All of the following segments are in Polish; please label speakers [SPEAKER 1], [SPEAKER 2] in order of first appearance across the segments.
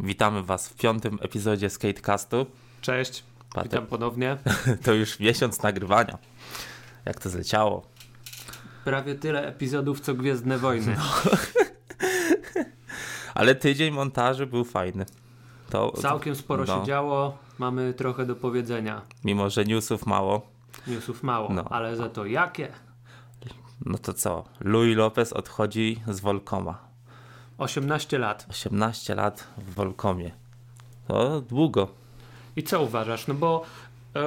[SPEAKER 1] Witamy Was w piątym epizodzie Skatecastu.
[SPEAKER 2] Cześć,
[SPEAKER 1] Patek.
[SPEAKER 2] witam ponownie.
[SPEAKER 1] To już miesiąc nagrywania. Jak to zleciało.
[SPEAKER 2] Prawie tyle epizodów co Gwiezdne Wojny.
[SPEAKER 1] No, Ale tydzień montaży był fajny. To,
[SPEAKER 2] Całkiem sporo
[SPEAKER 1] no,
[SPEAKER 2] się działo, mamy trochę do powiedzenia.
[SPEAKER 1] Mimo, że newsów mało,
[SPEAKER 2] Newsów mało,
[SPEAKER 1] No.
[SPEAKER 2] ale za to jakie?
[SPEAKER 1] no to co? Louis Lopez odchodzi z Volcoma.
[SPEAKER 2] 18 lat.
[SPEAKER 1] 18 lat w Volcomie. To długo.
[SPEAKER 2] I co uważasz? No bo e,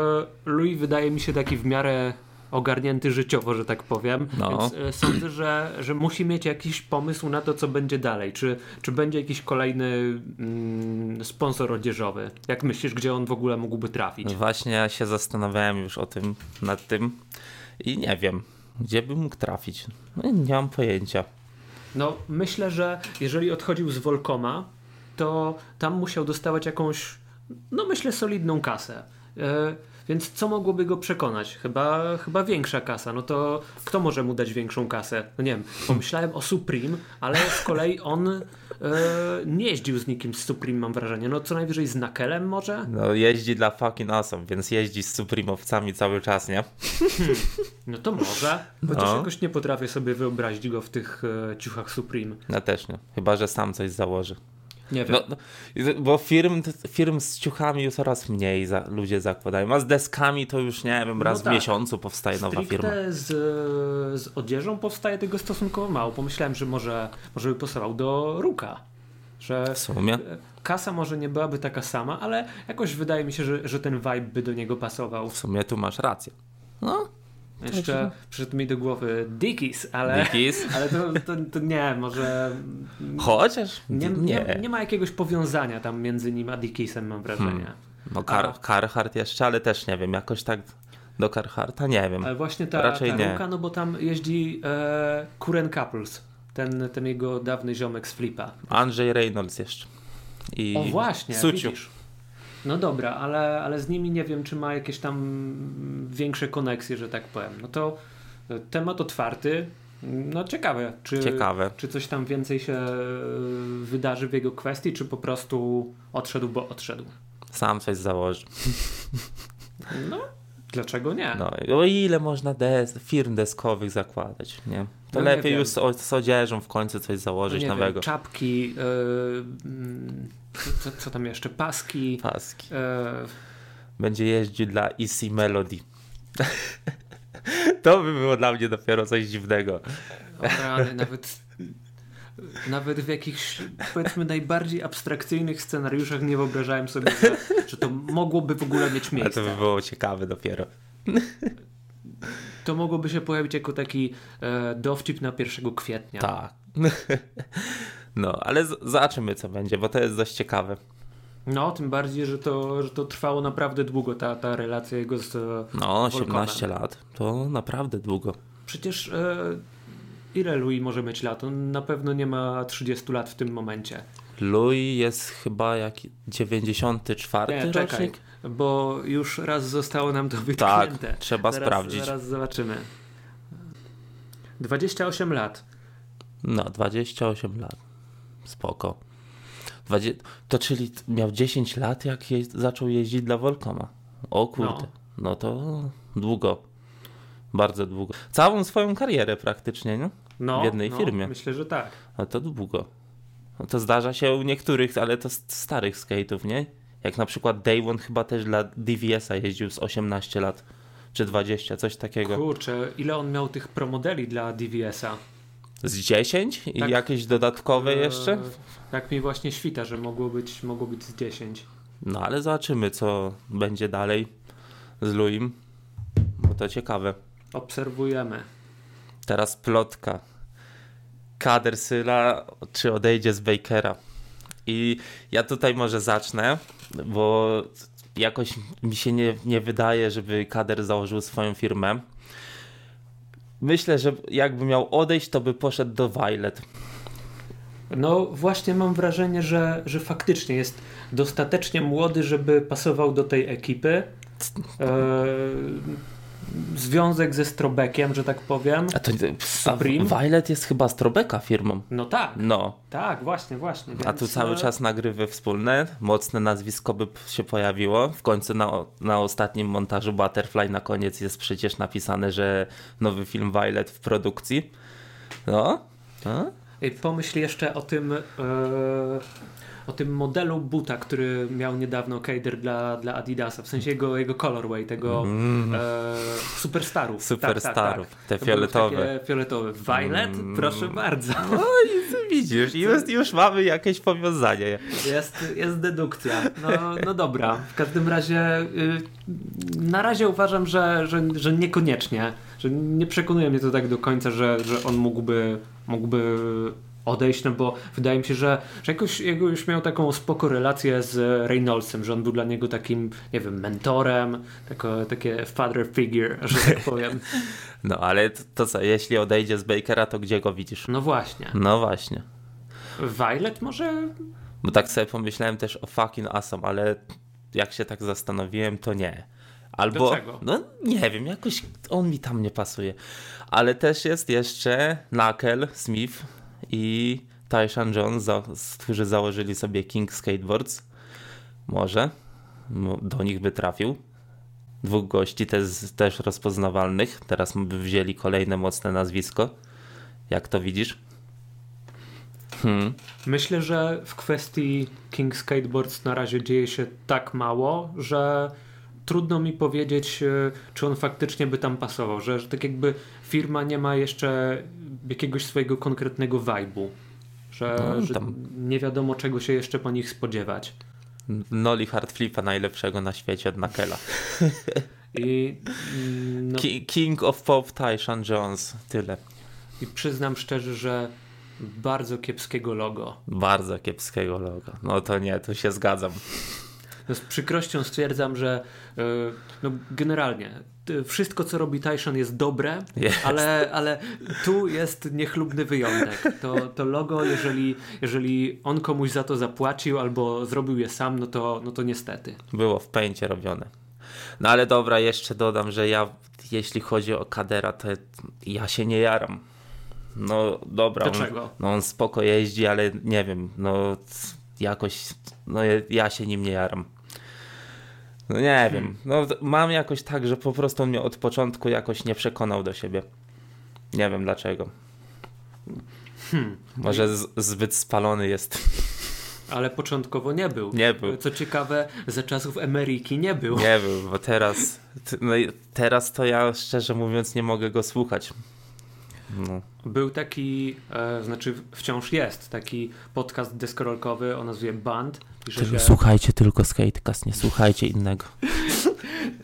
[SPEAKER 2] Louis wydaje mi się taki w miarę ogarnięty życiowo, że tak powiem.
[SPEAKER 1] No.
[SPEAKER 2] Więc e, sądzę, że, że musi mieć jakiś pomysł na to, co będzie dalej. Czy, czy będzie jakiś kolejny mm, sponsor odzieżowy? Jak myślisz, gdzie on w ogóle mógłby trafić?
[SPEAKER 1] Właśnie ja się zastanawiałem już o tym, nad tym i nie wiem, gdzie bym mógł trafić. No, nie mam pojęcia.
[SPEAKER 2] No, myślę, że jeżeli odchodził z Volcoma, to tam musiał dostawać jakąś, no myślę, solidną kasę. E, więc co mogłoby go przekonać? Chyba, chyba większa kasa. No to kto może mu dać większą kasę? No nie wiem, pomyślałem o Supreme, ale z kolei on e, nie jeździł z nikim z Supreme, mam wrażenie. No co najwyżej z Nakelem może?
[SPEAKER 1] No jeździ dla fucking awesome, więc jeździ z Supremowcami cały czas, nie?
[SPEAKER 2] No to może. Chociaż
[SPEAKER 1] No.
[SPEAKER 2] jakoś nie potrafię sobie wyobrazić go w tych e, ciuchach Supreme.
[SPEAKER 1] No też nie, chyba, że sam coś założy.
[SPEAKER 2] Tak. Nie wiem.
[SPEAKER 1] No, no, bo firm, firm z ciuchami już coraz mniej za, ludzie zakładają, a z deskami to już nie wiem, raz
[SPEAKER 2] tak.
[SPEAKER 1] w miesiącu powstaje nowa firma.
[SPEAKER 2] Stricte z, z odzieżą powstaje tego stosunkowo mało. Pomyślałem, że może, może by pasował do Ruka. Że
[SPEAKER 1] W sumie.
[SPEAKER 2] e, kasa może nie byłaby taka sama, ale jakoś wydaje mi się, że, że ten vibe by do niego pasował.
[SPEAKER 1] W sumie tu masz rację. No,
[SPEAKER 2] Jeszcze przyszedł mi do głowy Dickies, ale,
[SPEAKER 1] Dickies.
[SPEAKER 2] ale to, to, to nie, może
[SPEAKER 1] Chociaż
[SPEAKER 2] nie,
[SPEAKER 1] nie.
[SPEAKER 2] nie. nie ma jakiegoś powiązania tam między nim a Dickiesem, mam wrażenie.
[SPEAKER 1] No
[SPEAKER 2] A.
[SPEAKER 1] Kar- Carhartt jeszcze, ale też nie wiem, jakoś tak do Carharta nie wiem.
[SPEAKER 2] Ale właśnie ta,
[SPEAKER 1] Raczej
[SPEAKER 2] ta
[SPEAKER 1] nie.
[SPEAKER 2] Ruka, no bo tam jeździ e, Kuren Couples, ten, ten jego dawny ziomek z Flipa.
[SPEAKER 1] Andrzej Reynolds jeszcze. I
[SPEAKER 2] O właśnie,
[SPEAKER 1] Suciu.
[SPEAKER 2] widzisz. No dobra, ale, ale z nimi nie wiem, czy ma jakieś tam mm, większe koneksje, że tak powiem. No to e, temat otwarty. No ciekawe, czy,
[SPEAKER 1] Ciekawe.
[SPEAKER 2] czy coś tam więcej się e, wydarzy w jego kwestii, czy po prostu odszedł, bo odszedł.
[SPEAKER 1] Sam coś założy.
[SPEAKER 2] No, dlaczego nie?
[SPEAKER 1] No, i o ile można des- firm deskowych zakładać, nie? To
[SPEAKER 2] No nie
[SPEAKER 1] lepiej
[SPEAKER 2] wiem.
[SPEAKER 1] już z, o- z odzieżą w końcu coś
[SPEAKER 2] No
[SPEAKER 1] założyć
[SPEAKER 2] nie
[SPEAKER 1] nowego.
[SPEAKER 2] Wiem, czapki, e, mm, co, co tam jeszcze, paski.
[SPEAKER 1] Paski.
[SPEAKER 2] E,
[SPEAKER 1] Będzie jeździł dla Easy Melody. to by było dla mnie dopiero coś dziwnego.
[SPEAKER 2] Obrany, nawet, nawet w jakichś, powiedzmy, najbardziej abstrakcyjnych scenariuszach nie wyobrażałem sobie, że, że to mogłoby w ogóle mieć
[SPEAKER 1] Ale to by
[SPEAKER 2] miejsce.
[SPEAKER 1] było ciekawe dopiero.
[SPEAKER 2] To mogłoby się pojawić jako taki e, dowcip na 1 kwietnia.
[SPEAKER 1] Tak. no, ale z- zobaczymy co będzie, bo to jest dość ciekawe.
[SPEAKER 2] No, tym bardziej, że to, że to trwało naprawdę długo, ta, ta relacja jego z...
[SPEAKER 1] No,
[SPEAKER 2] Volcomem.
[SPEAKER 1] 18 lat. To naprawdę długo.
[SPEAKER 2] Przecież e, ile Louis może mieć lat? On na pewno nie ma 30 lat w tym momencie.
[SPEAKER 1] Louis jest chyba jak 94
[SPEAKER 2] Nie, czekaj,
[SPEAKER 1] rocznik.
[SPEAKER 2] bo już raz zostało nam to
[SPEAKER 1] Tak,
[SPEAKER 2] wytknięte.
[SPEAKER 1] trzeba
[SPEAKER 2] zaraz,
[SPEAKER 1] sprawdzić.
[SPEAKER 2] Zaraz zobaczymy. 28 lat.
[SPEAKER 1] No, 28 lat. Spoko. 20... To czyli t- miał 10 lat, jak jeź... zaczął jeździć dla Volcoma. O kurde. No. to długo. Bardzo długo. Całą swoją karierę praktycznie, nie?
[SPEAKER 2] No,
[SPEAKER 1] W jednej
[SPEAKER 2] no,
[SPEAKER 1] firmie.
[SPEAKER 2] Myślę, że tak.
[SPEAKER 1] No to długo. No to zdarza się u niektórych, ale to st- starych skate'ów, nie? Jak na przykład Daywan chyba też dla DVS-a jeździł z 18 lat. Czy 20, coś takiego.
[SPEAKER 2] Kurczę, ile on miał tych promodeli dla DVS-a?
[SPEAKER 1] Z 10? I
[SPEAKER 2] Tak.
[SPEAKER 1] jakieś dodatkowe jeszcze?
[SPEAKER 2] E, Tak mi właśnie świta, że mogło być, mogło być z 10.
[SPEAKER 1] No ale zobaczymy, co będzie dalej z Luim, bo to ciekawe.
[SPEAKER 2] Obserwujemy.
[SPEAKER 1] Teraz plotka. Kader Syla, czy odejdzie z Bakera? I ja tutaj może zacznę, bo jakoś mi się nie, nie wydaje, żeby Kader założył swoją firmę. Myślę, że jakby miał odejść, to by poszedł do Violet.
[SPEAKER 2] No właśnie mam wrażenie, że, że faktycznie jest dostatecznie młody, żeby pasował do tej ekipy. E, związek ze Strobekiem, że tak powiem.
[SPEAKER 1] A to
[SPEAKER 2] Supreme?
[SPEAKER 1] A Violet jest chyba z Trobeka firmą.
[SPEAKER 2] No tak,
[SPEAKER 1] No.
[SPEAKER 2] tak, właśnie, właśnie.
[SPEAKER 1] A
[SPEAKER 2] więc,
[SPEAKER 1] tu cały
[SPEAKER 2] no,
[SPEAKER 1] czas nagrywy wspólne, mocne nazwisko by p- się pojawiło. W końcu na, o- na ostatnim montażu Butterfly na koniec jest przecież napisane, że nowy film Violet w produkcji. No. A?
[SPEAKER 2] Ej, Pomyśl jeszcze o tym, e, o tym modelu buta, który miał niedawno Cader dla, dla Adidasa, w sensie jego, jego colorway, tego e, superstarów.
[SPEAKER 1] Mhm.
[SPEAKER 2] Tak,
[SPEAKER 1] Superstarów, te
[SPEAKER 2] To były
[SPEAKER 1] fioletowe.
[SPEAKER 2] Takie fioletowe. Violet? Proszę bardzo.
[SPEAKER 1] No i widzisz, już, już mamy jakieś powiązanie.
[SPEAKER 2] Jest, jest dedukcja. No, no dobra, w każdym razie y, na razie uważam, że, że, że niekoniecznie, że nie przekonuje mnie to tak do końca, że, że on mógłby, mógłby odejść, no bo wydaje mi się, że, że jakoś, jakoś miał taką spoko relację z Reynoldsem, że on był dla niego takim, nie wiem, mentorem, tako, takie father figure, że tak powiem.
[SPEAKER 1] No ale to, to co, jeśli odejdzie z Bakera, to gdzie go widzisz?
[SPEAKER 2] No właśnie.
[SPEAKER 1] No właśnie.
[SPEAKER 2] Violet może
[SPEAKER 1] Bo tak sobie pomyślałem też o fucking Asom, ale jak się tak zastanowiłem, to nie. Albo.
[SPEAKER 2] Dlaczego?
[SPEAKER 1] No nie wiem, jakoś on mi tam nie pasuje. Ale też jest jeszcze Knuckle, Smith i Tyshan Jones, za, z- którzy założyli sobie King Skateboards. Może Mo- do nich by trafił. Dwóch gości też, też rozpoznawalnych. Teraz by wzięli kolejne mocne nazwisko. Jak to widzisz? Hmm.
[SPEAKER 2] Myślę, że w kwestii King Skateboards na razie dzieje się tak mało, że trudno mi powiedzieć, y, czy on faktycznie by tam pasował, że, że tak jakby firma nie ma jeszcze jakiegoś swojego konkretnego vibe'u, że,
[SPEAKER 1] No,
[SPEAKER 2] że
[SPEAKER 1] tam-
[SPEAKER 2] nie wiadomo czego się jeszcze po nich spodziewać.
[SPEAKER 1] Noli Hard Flipa najlepszego na świecie od Nakela.
[SPEAKER 2] I, mm, no,
[SPEAKER 1] Ki- King of Pop Tyshan Jones. Tyle.
[SPEAKER 2] I przyznam szczerze, że bardzo kiepskiego logo.
[SPEAKER 1] Bardzo kiepskiego logo. No to nie, tu się zgadzam.
[SPEAKER 2] No z przykrością stwierdzam, że y, no generalnie y, wszystko, co robi Tyson jest dobre,
[SPEAKER 1] Jest.
[SPEAKER 2] ale, ale tu jest niechlubny wyjątek. To, to logo, jeżeli, jeżeli on komuś za to zapłacił albo zrobił je sam, no to, no to niestety.
[SPEAKER 1] Było w pęcie robione. No ale dobra, jeszcze dodam, że ja, jeśli chodzi o Kadera, to ja się nie jaram. No dobra. on-
[SPEAKER 2] Dlaczego?
[SPEAKER 1] No on spoko jeździ, ale nie wiem, no c- jakoś, no ja- ja się nim nie jaram. No nie wiem, no d- mam jakoś tak, że po prostu on mnie od początku jakoś nie przekonał do siebie. Nie wiem dlaczego. Może z, zbyt spalony jest.
[SPEAKER 2] Ale początkowo nie był.
[SPEAKER 1] Nie był.
[SPEAKER 2] Co ciekawe, za czasów Emeryki nie był.
[SPEAKER 1] Nie wiem, bo teraz, t- no i teraz to ja szczerze mówiąc nie mogę go słuchać. No.
[SPEAKER 2] Był taki, e, znaczy wciąż jest, taki podcast deskorolkowy o nazwie Band. Pisze się-
[SPEAKER 1] Słuchajcie tylko Skatecast, nie słuchajcie innego.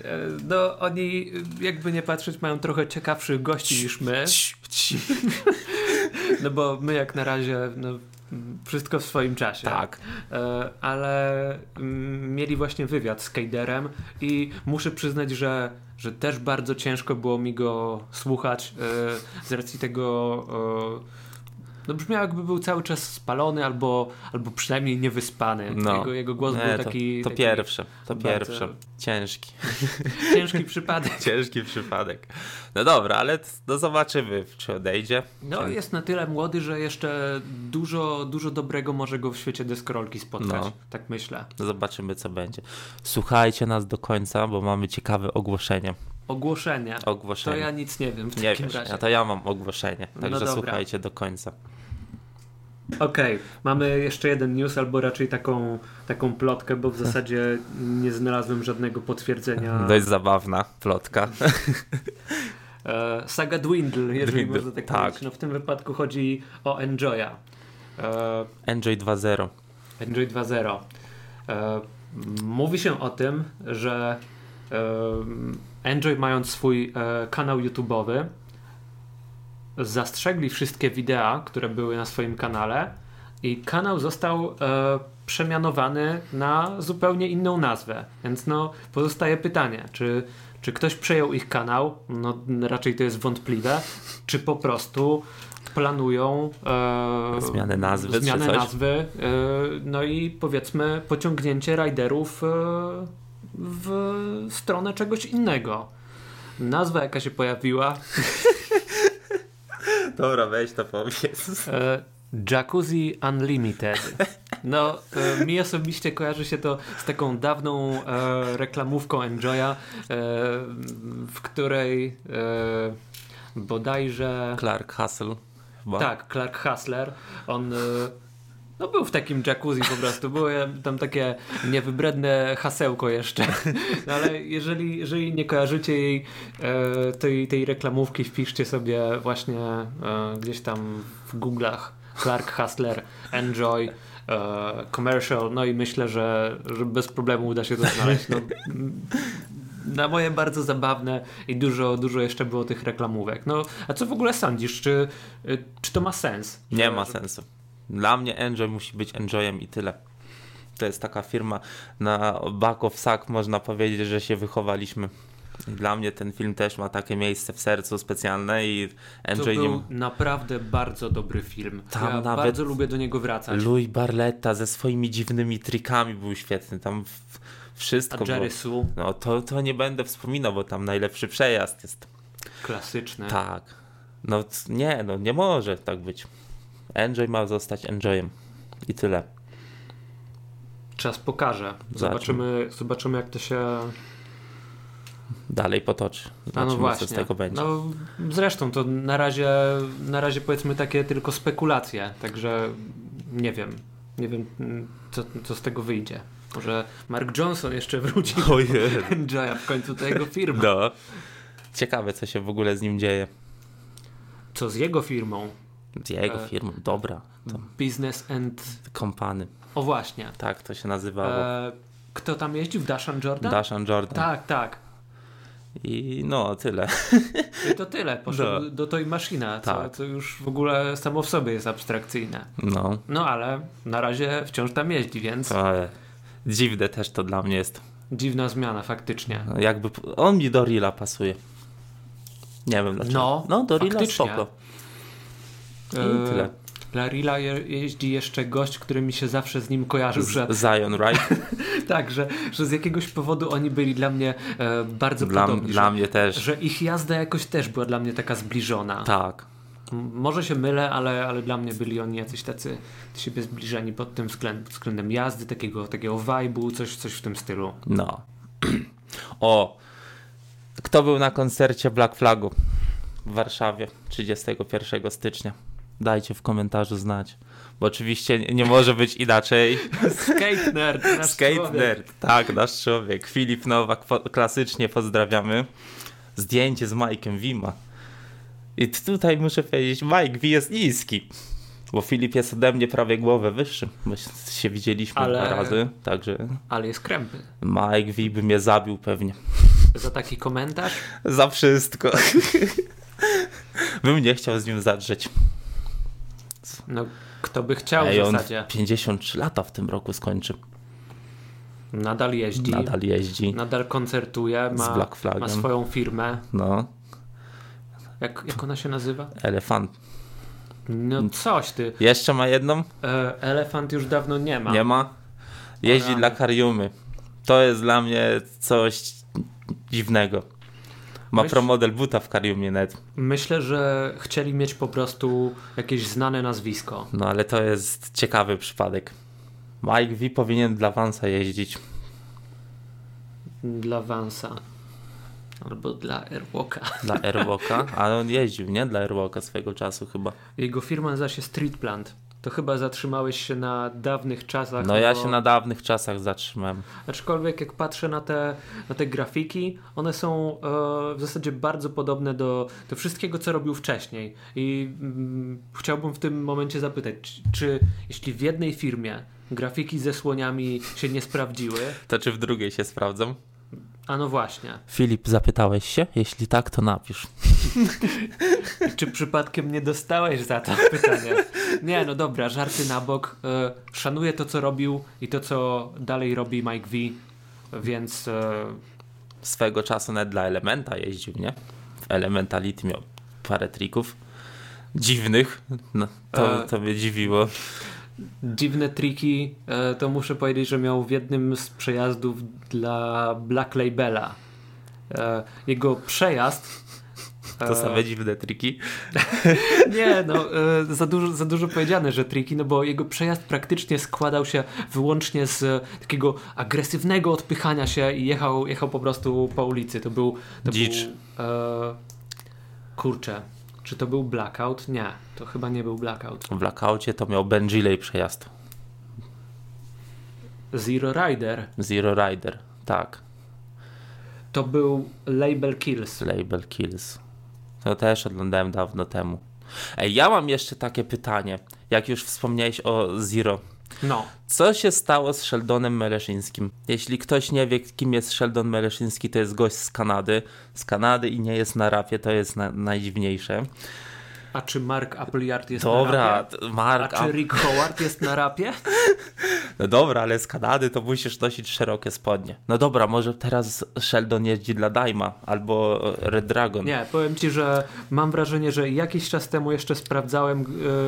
[SPEAKER 2] E, No, oni jakby nie patrzeć mają trochę ciekawszych gości niż my, no bo my jak na razie no, m, wszystko w swoim czasie.
[SPEAKER 1] Tak.
[SPEAKER 2] E, Ale mm, mieli właśnie wywiad z Kejderem i muszę przyznać, że, że też bardzo ciężko było mi go słuchać e, z racji tego... e, No brzmiał jakby był cały czas spalony albo, albo przynajmniej niewyspany.
[SPEAKER 1] No.
[SPEAKER 2] Jego, jego głos
[SPEAKER 1] Nie,
[SPEAKER 2] był
[SPEAKER 1] to,
[SPEAKER 2] taki...
[SPEAKER 1] to
[SPEAKER 2] taki
[SPEAKER 1] pierwsze, to
[SPEAKER 2] bardzo-
[SPEAKER 1] pierwsze. Ciężki.
[SPEAKER 2] Ciężki przypadek.
[SPEAKER 1] Ciężki przypadek. No dobra, ale t- no zobaczymy, czy odejdzie.
[SPEAKER 2] No, jest na tyle młody, że jeszcze dużo, dużo dobrego może go w świecie deskorolki spotkać.
[SPEAKER 1] No.
[SPEAKER 2] Tak myślę.
[SPEAKER 1] Zobaczymy, co będzie. Słuchajcie nas do końca, bo mamy ciekawe ogłoszenie.
[SPEAKER 2] Ogłoszenia. To
[SPEAKER 1] Ogłoszenie.
[SPEAKER 2] ja nic nie wiem w
[SPEAKER 1] Nie
[SPEAKER 2] takim
[SPEAKER 1] wiesz,
[SPEAKER 2] razie.
[SPEAKER 1] a to ja mam ogłoszenie,
[SPEAKER 2] No
[SPEAKER 1] także
[SPEAKER 2] dobra.
[SPEAKER 1] słuchajcie do końca.
[SPEAKER 2] Okej, mamy jeszcze jeden news, albo raczej taką, taką plotkę, bo w
[SPEAKER 1] Hmm.
[SPEAKER 2] zasadzie nie znalazłem żadnego potwierdzenia.
[SPEAKER 1] Dość zabawna plotka.
[SPEAKER 2] E, saga Dwindle, jeżeli
[SPEAKER 1] Dwindle,
[SPEAKER 2] można tak,
[SPEAKER 1] tak.
[SPEAKER 2] powiedzieć. No, w tym wypadku chodzi o Enjoya. E,
[SPEAKER 1] Enjoy 2.0.
[SPEAKER 2] Enjoy 2.0. E, mówi się o tym, że e, Enjoy mając swój e, kanał YouTube'owy zastrzegli wszystkie wideo, które były na swoim kanale i kanał został e, przemianowany na zupełnie inną nazwę. Więc no, pozostaje pytanie, czy, czy ktoś przejął ich kanał? No, raczej to jest wątpliwe. Czy po prostu planują e,
[SPEAKER 1] Zmianę nazwy czy
[SPEAKER 2] zmianę
[SPEAKER 1] coś?
[SPEAKER 2] nazwy, e, no i powiedzmy pociągnięcie riderów e, w stronę czegoś innego. Nazwa jaka się pojawiła,
[SPEAKER 1] Dobra, weź to powiedz.
[SPEAKER 2] e, Jacuzzi Unlimited. No, e, mi osobiście kojarzy się to z taką dawną e, reklamówką Enjoya, e, w której e, bodajże...
[SPEAKER 1] Clark Hustle. Chyba.
[SPEAKER 2] Tak, Clark Hassler. On y, no, był w takim jacuzzi po prostu. Było ja- tam takie niewybredne hasełko jeszcze. No, ale jeżeli, jeżeli nie kojarzycie jej, e, tej, tej reklamówki, wpiszcie sobie właśnie e, gdzieś tam w Google'ach Clark Hassler, Enjoy. e, Commercial, no i myślę, że, że bez problemu uda się to znaleźć. No, m, na moje bardzo zabawne i dużo, dużo jeszcze było tych reklamówek. No, a co w ogóle sądzisz? Czy, y, czy to ma sens?
[SPEAKER 1] Nie
[SPEAKER 2] Że-
[SPEAKER 1] ma
[SPEAKER 2] że-
[SPEAKER 1] sensu. Dla mnie Enjoy musi być Enjoyem i tyle. To jest taka firma na back of sack, można powiedzieć, że się wychowaliśmy. I dla mnie ten film też ma takie miejsce w sercu specjalne i
[SPEAKER 2] To
[SPEAKER 1] Enjoy nie...
[SPEAKER 2] był
[SPEAKER 1] ma-
[SPEAKER 2] naprawdę bardzo dobry film.
[SPEAKER 1] Tam
[SPEAKER 2] ja
[SPEAKER 1] nawet-
[SPEAKER 2] bardzo lubię do niego wracać.
[SPEAKER 1] Louis Barletta ze swoimi dziwnymi trikami był świetny. Tam w-
[SPEAKER 2] A
[SPEAKER 1] wszystko było.
[SPEAKER 2] Jerry Sue,
[SPEAKER 1] No to, to nie będę wspominał, bo tam najlepszy przejazd jest.
[SPEAKER 2] klasyczny.
[SPEAKER 1] Tak. No c- nie, no nie może tak być. Enjoy ma zostać Enjoyem. I tyle.
[SPEAKER 2] Czas pokaże. Zobaczymy, zobaczymy jak to się
[SPEAKER 1] Dalej potoczy.
[SPEAKER 2] A
[SPEAKER 1] Zobaczymy,
[SPEAKER 2] no właśnie.
[SPEAKER 1] co z tego będzie.
[SPEAKER 2] No, zresztą to na razie, na razie powiedzmy takie tylko spekulacje, także nie wiem. Nie wiem, mm, co, co z tego wyjdzie. Może Mark Johnson jeszcze wróci do
[SPEAKER 1] Ojej.
[SPEAKER 2] Enjoya w końcu do jego firmy.
[SPEAKER 1] No. Ciekawe, co się w ogóle z nim dzieje.
[SPEAKER 2] Co z jego firmą?
[SPEAKER 1] Z jego
[SPEAKER 2] E.
[SPEAKER 1] firmą. Dobra.
[SPEAKER 2] Business and...
[SPEAKER 1] Kompany.
[SPEAKER 2] O właśnie.
[SPEAKER 1] Tak to się nazywało.
[SPEAKER 2] E, kto tam jeździł? Dashan Jordan?
[SPEAKER 1] Dashan Jordan.
[SPEAKER 2] Tak, tak.
[SPEAKER 1] I no, tyle.
[SPEAKER 2] I to tyle. Poszedł
[SPEAKER 1] No.
[SPEAKER 2] do tej maszyna, co,
[SPEAKER 1] Tak.
[SPEAKER 2] co już w ogóle samo w sobie jest abstrakcyjne.
[SPEAKER 1] No.
[SPEAKER 2] No ale na razie wciąż tam jeździ, więc...
[SPEAKER 1] Ale dziwne też to dla mnie jest.
[SPEAKER 2] Dziwna zmiana, faktycznie.
[SPEAKER 1] No, Jakby p- on mi do Rila pasuje. Nie wiem dlaczego.
[SPEAKER 2] No,
[SPEAKER 1] no do Rila
[SPEAKER 2] faktycznie.
[SPEAKER 1] spoko. I
[SPEAKER 2] E,
[SPEAKER 1] tyle.
[SPEAKER 2] Dla Rila je, jeździ jeszcze gość, który mi się zawsze z nim kojarzył, że
[SPEAKER 1] Zion, right?
[SPEAKER 2] tak, że, że z jakiegoś powodu oni byli dla mnie e, bardzo
[SPEAKER 1] Dla,
[SPEAKER 2] podobni.
[SPEAKER 1] dla
[SPEAKER 2] że,
[SPEAKER 1] mnie też.
[SPEAKER 2] że ich jazda jakoś też była dla mnie taka zbliżona.
[SPEAKER 1] Tak.
[SPEAKER 2] M- Może się mylę, ale, ale dla mnie byli oni jacyś tacy do siebie zbliżeni pod tym względem, względem jazdy, takiego, takiego vibe'u, coś, coś w tym stylu.
[SPEAKER 1] No. O. Kto był na koncercie Black Flagu w Warszawie 31 stycznia? Dajcie w komentarzu znać. Bo oczywiście nie nie może być inaczej.
[SPEAKER 2] Skate nerd! nasz
[SPEAKER 1] Skate
[SPEAKER 2] człowiek.
[SPEAKER 1] nerd, tak, nasz człowiek. Filip Nowak, po, klasycznie pozdrawiamy. Zdjęcie z Mike'em Wima. I t- tutaj muszę powiedzieć, Mike V jest niski. Bo Filip jest ode mnie prawie głowę wyższy. My s- się widzieliśmy
[SPEAKER 2] Ale-
[SPEAKER 1] dwa razy, także
[SPEAKER 2] Ale jest krępy.
[SPEAKER 1] Mike V by mnie zabił pewnie.
[SPEAKER 2] Za taki komentarz
[SPEAKER 1] Za wszystko. Bym nie chciał z nim zadrzeć.
[SPEAKER 2] No, kto by chciał
[SPEAKER 1] Ej,
[SPEAKER 2] w
[SPEAKER 1] on
[SPEAKER 2] zasadzie.
[SPEAKER 1] 53 lata w tym roku skończy.
[SPEAKER 2] Nadal jeździ, nadal,
[SPEAKER 1] Nadal jeździ
[SPEAKER 2] koncertuje,
[SPEAKER 1] z
[SPEAKER 2] ma,
[SPEAKER 1] Black
[SPEAKER 2] ma
[SPEAKER 1] Flagiem.
[SPEAKER 2] swoją firmę.
[SPEAKER 1] No,
[SPEAKER 2] Jak, jak ona się nazywa?
[SPEAKER 1] elefant.
[SPEAKER 2] No coś ty.
[SPEAKER 1] Jeszcze ma jedną?
[SPEAKER 2] E, Elefant już dawno nie ma.
[SPEAKER 1] Nie ma. Jeździ
[SPEAKER 2] Rany.
[SPEAKER 1] dla Kariumy. To jest dla mnie coś dziwnego. Ma
[SPEAKER 2] Myśl-
[SPEAKER 1] promodel buta w Kariumie net.
[SPEAKER 2] Myślę, że chcieli mieć po prostu jakieś znane nazwisko.
[SPEAKER 1] No ale to jest ciekawy przypadek. Mike V powinien dla Vansa jeździć.
[SPEAKER 2] Dla Vansa. Albo dla Airwalka.
[SPEAKER 1] Dla Airwalka. Ale on jeździł, nie? Dla Airwalka swego czasu chyba.
[SPEAKER 2] Jego firma nazywa się Streetplant. To chyba zatrzymałeś się na dawnych czasach.
[SPEAKER 1] No ja
[SPEAKER 2] bo-
[SPEAKER 1] się na dawnych czasach zatrzymałem.
[SPEAKER 2] Aczkolwiek jak patrzę na te, na te grafiki, one są e, w zasadzie bardzo podobne do, do wszystkiego, co robił wcześniej. I mm, chciałbym w tym momencie zapytać, czy, czy jeśli w jednej firmie grafiki ze słoniami się nie sprawdziły,
[SPEAKER 1] To czy w drugiej się sprawdzą?
[SPEAKER 2] a no właśnie,
[SPEAKER 1] Filip, zapytałeś się? Jeśli tak, to napisz.
[SPEAKER 2] czy przypadkiem nie dostałeś za to pytanie? Nie, no dobra, żarty na bok. E, szanuję to, co robił i to, co dalej robi Mike V, więc e,
[SPEAKER 1] swego czasu nawet dla Elementa jeździł, nie? W Elementality miał parę trików dziwnych. No, to,
[SPEAKER 2] E.
[SPEAKER 1] to mnie dziwiło.
[SPEAKER 2] Dziwne triki, e, to muszę powiedzieć, że miał w jednym z przejazdów dla Black Labela. e, jego przejazd. e.
[SPEAKER 1] To same dziwne triki.
[SPEAKER 2] Nie, no e, za dużo, za dużo powiedziane, że triki, no bo jego przejazd praktycznie składał się wyłącznie z e, takiego agresywnego odpychania się i jechał, jechał po prostu po ulicy. To był. To
[SPEAKER 1] Dzicz.
[SPEAKER 2] Był, e, kurczę, czy to był blackout? Nie, to chyba nie był blackout.
[SPEAKER 1] W Blackoutie to miał Benjilej przejazd.
[SPEAKER 2] Zero Rider
[SPEAKER 1] Zero Rider. Tak.
[SPEAKER 2] to był label Kills.
[SPEAKER 1] Label Kills. To też oglądałem dawno temu. Ej, ja mam jeszcze takie pytanie. Jak już wspomniałeś o Zero.
[SPEAKER 2] No.
[SPEAKER 1] Co się stało z Sheldonem Meleszyńskim? Jeśli ktoś nie wie, kim jest Sheldon Meleszyński, to jest gość z Kanady. Z Kanady i nie jest na rapie, to jest na, najdziwniejsze.
[SPEAKER 2] A czy Mark Appleyard jest na
[SPEAKER 1] Dobra,
[SPEAKER 2] rapie?
[SPEAKER 1] t-
[SPEAKER 2] A
[SPEAKER 1] Mark.
[SPEAKER 2] czy Rick Howard jest na rapie?
[SPEAKER 1] No dobra, ale z Kanady to musisz nosić szerokie spodnie. No dobra, może teraz Sheldon jeździ dla Daima albo Red Dragon.
[SPEAKER 2] Nie, powiem ci, że mam wrażenie, że jakiś czas temu jeszcze sprawdzałem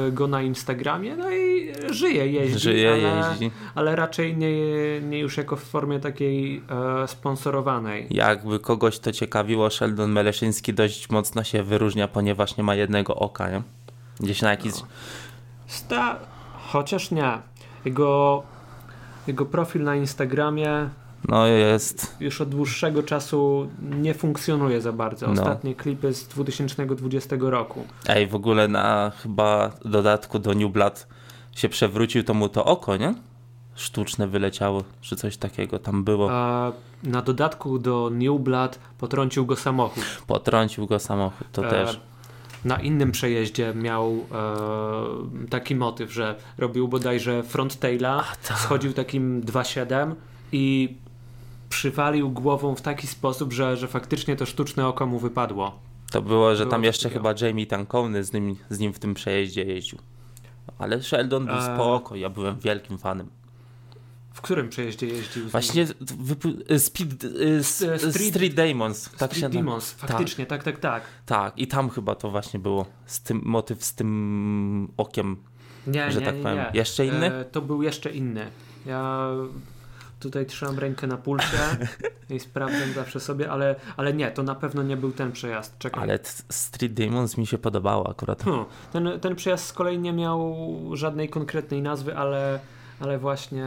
[SPEAKER 2] y, go na Instagramie, no i żyje, jeździ.
[SPEAKER 1] Żyje,
[SPEAKER 2] ale,
[SPEAKER 1] jeździ.
[SPEAKER 2] Ale raczej nie, nie już jako w formie takiej e, sponsorowanej.
[SPEAKER 1] Jakby kogoś to ciekawiło, Sheldon Meleszyński dość mocno się wyróżnia, ponieważ nie ma jednego oka, nie? Gdzieś na jakiś.
[SPEAKER 2] No. Sta... Chociaż nie. Jego, jego profil na Instagramie
[SPEAKER 1] No jest.
[SPEAKER 2] już od dłuższego czasu nie funkcjonuje za bardzo.
[SPEAKER 1] No.
[SPEAKER 2] Ostatnie klipy z 2020 roku.
[SPEAKER 1] Ej, w ogóle na chyba dodatku do New Blood się przewrócił, to mu to oko, nie? Sztuczne wyleciało, czy coś takiego tam było.
[SPEAKER 2] A na dodatku do New Blood potrącił go samochód.
[SPEAKER 1] Potrącił go samochód, to
[SPEAKER 2] E,
[SPEAKER 1] No też.
[SPEAKER 2] Na innym przejeździe miał e, taki motyw, że robił bodajże front taila,
[SPEAKER 1] tak.
[SPEAKER 2] schodził takim 2.7 i przywalił głową w taki sposób, że, że faktycznie to sztuczne oko mu wypadło.
[SPEAKER 1] To było, że tam
[SPEAKER 2] Było
[SPEAKER 1] jeszcze
[SPEAKER 2] takiego.
[SPEAKER 1] chyba Jamie Tankowny z nim, z nim w tym przejeździe jeździł. Ale Sheldon był
[SPEAKER 2] A-
[SPEAKER 1] spoko, ja byłem wielkim fanem.
[SPEAKER 2] W którym przejeździe jeździł? z nim?
[SPEAKER 1] Właśnie wypu- y, Speed, y, s-
[SPEAKER 2] E,
[SPEAKER 1] y,
[SPEAKER 2] Street-
[SPEAKER 1] Street Demons. Tak
[SPEAKER 2] Street
[SPEAKER 1] się na-
[SPEAKER 2] Demons, faktycznie, tak, tak, tak.
[SPEAKER 1] Tak, i tam chyba to właśnie było. Z tym, motyw z tym okiem.
[SPEAKER 2] Nie,
[SPEAKER 1] Że
[SPEAKER 2] nie,
[SPEAKER 1] tak
[SPEAKER 2] nie,
[SPEAKER 1] powiem.
[SPEAKER 2] nie.
[SPEAKER 1] Jeszcze inny?
[SPEAKER 2] E, to był jeszcze inny. Ja tutaj trzymam rękę na pulsie i sprawdzam zawsze sobie, ale, ale nie, to na pewno nie był ten przejazd. Czekaj.
[SPEAKER 1] Ale t- Street Demons mi się podobało akurat.
[SPEAKER 2] Hmm. Ten, ten przejazd z kolei nie miał żadnej konkretnej nazwy, ale, ale właśnie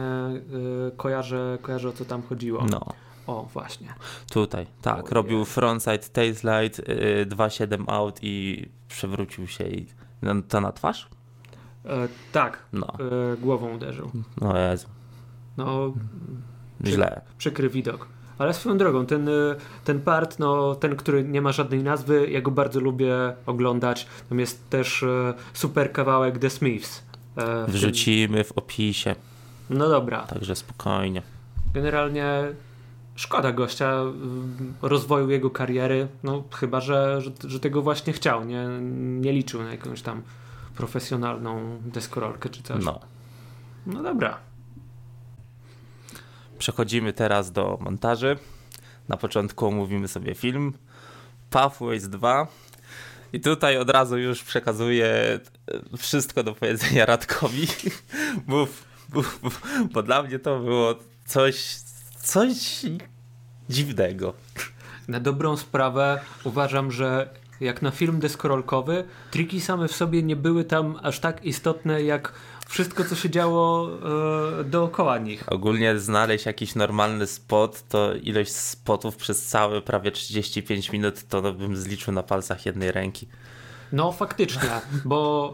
[SPEAKER 2] y, kojarzę, kojarzę o co tam chodziło.
[SPEAKER 1] No,
[SPEAKER 2] O, właśnie.
[SPEAKER 1] tutaj, tak.
[SPEAKER 2] Ojej.
[SPEAKER 1] robił frontside, tailslide, y, 2.7 out i przewrócił się i... No, to na twarz?
[SPEAKER 2] E, tak,
[SPEAKER 1] No,
[SPEAKER 2] e, głową uderzył.
[SPEAKER 1] no Jezu,
[SPEAKER 2] No, Czy-
[SPEAKER 1] źle.
[SPEAKER 2] przykry widok. Ale swoją drogą, ten, y, ten part, no, ten, który nie ma żadnej nazwy, ja go bardzo lubię oglądać. Tam jest też y, super kawałek The Smiths. e, w tym-
[SPEAKER 1] Wrzucimy w opisie,
[SPEAKER 2] No dobra.
[SPEAKER 1] także spokojnie.
[SPEAKER 2] Generalnie szkoda gościa y, rozwoju jego kariery, no chyba, że, że, że tego właśnie chciał, nie, nie liczył na jakąś tam profesjonalną deskorolkę czy coś.
[SPEAKER 1] No.
[SPEAKER 2] no dobra.
[SPEAKER 1] Przechodzimy teraz do montaży. Na początku omówimy sobie film Pathways 2. I tutaj od razu już przekazuję e, wszystko do powiedzenia Radkowi. Mów, mów, mów, bo dla mnie to było coś, coś dziwnego.
[SPEAKER 2] Na dobrą sprawę uważam, że jak na film deskorolkowy, triki same w sobie nie były tam aż tak istotne jak wszystko, co się działo e, dookoła nich.
[SPEAKER 1] Ogólnie znaleźć jakiś normalny spot, to ilość spotów przez całe prawie 35 minut to bym zliczył na palcach jednej ręki.
[SPEAKER 2] No faktycznie, bo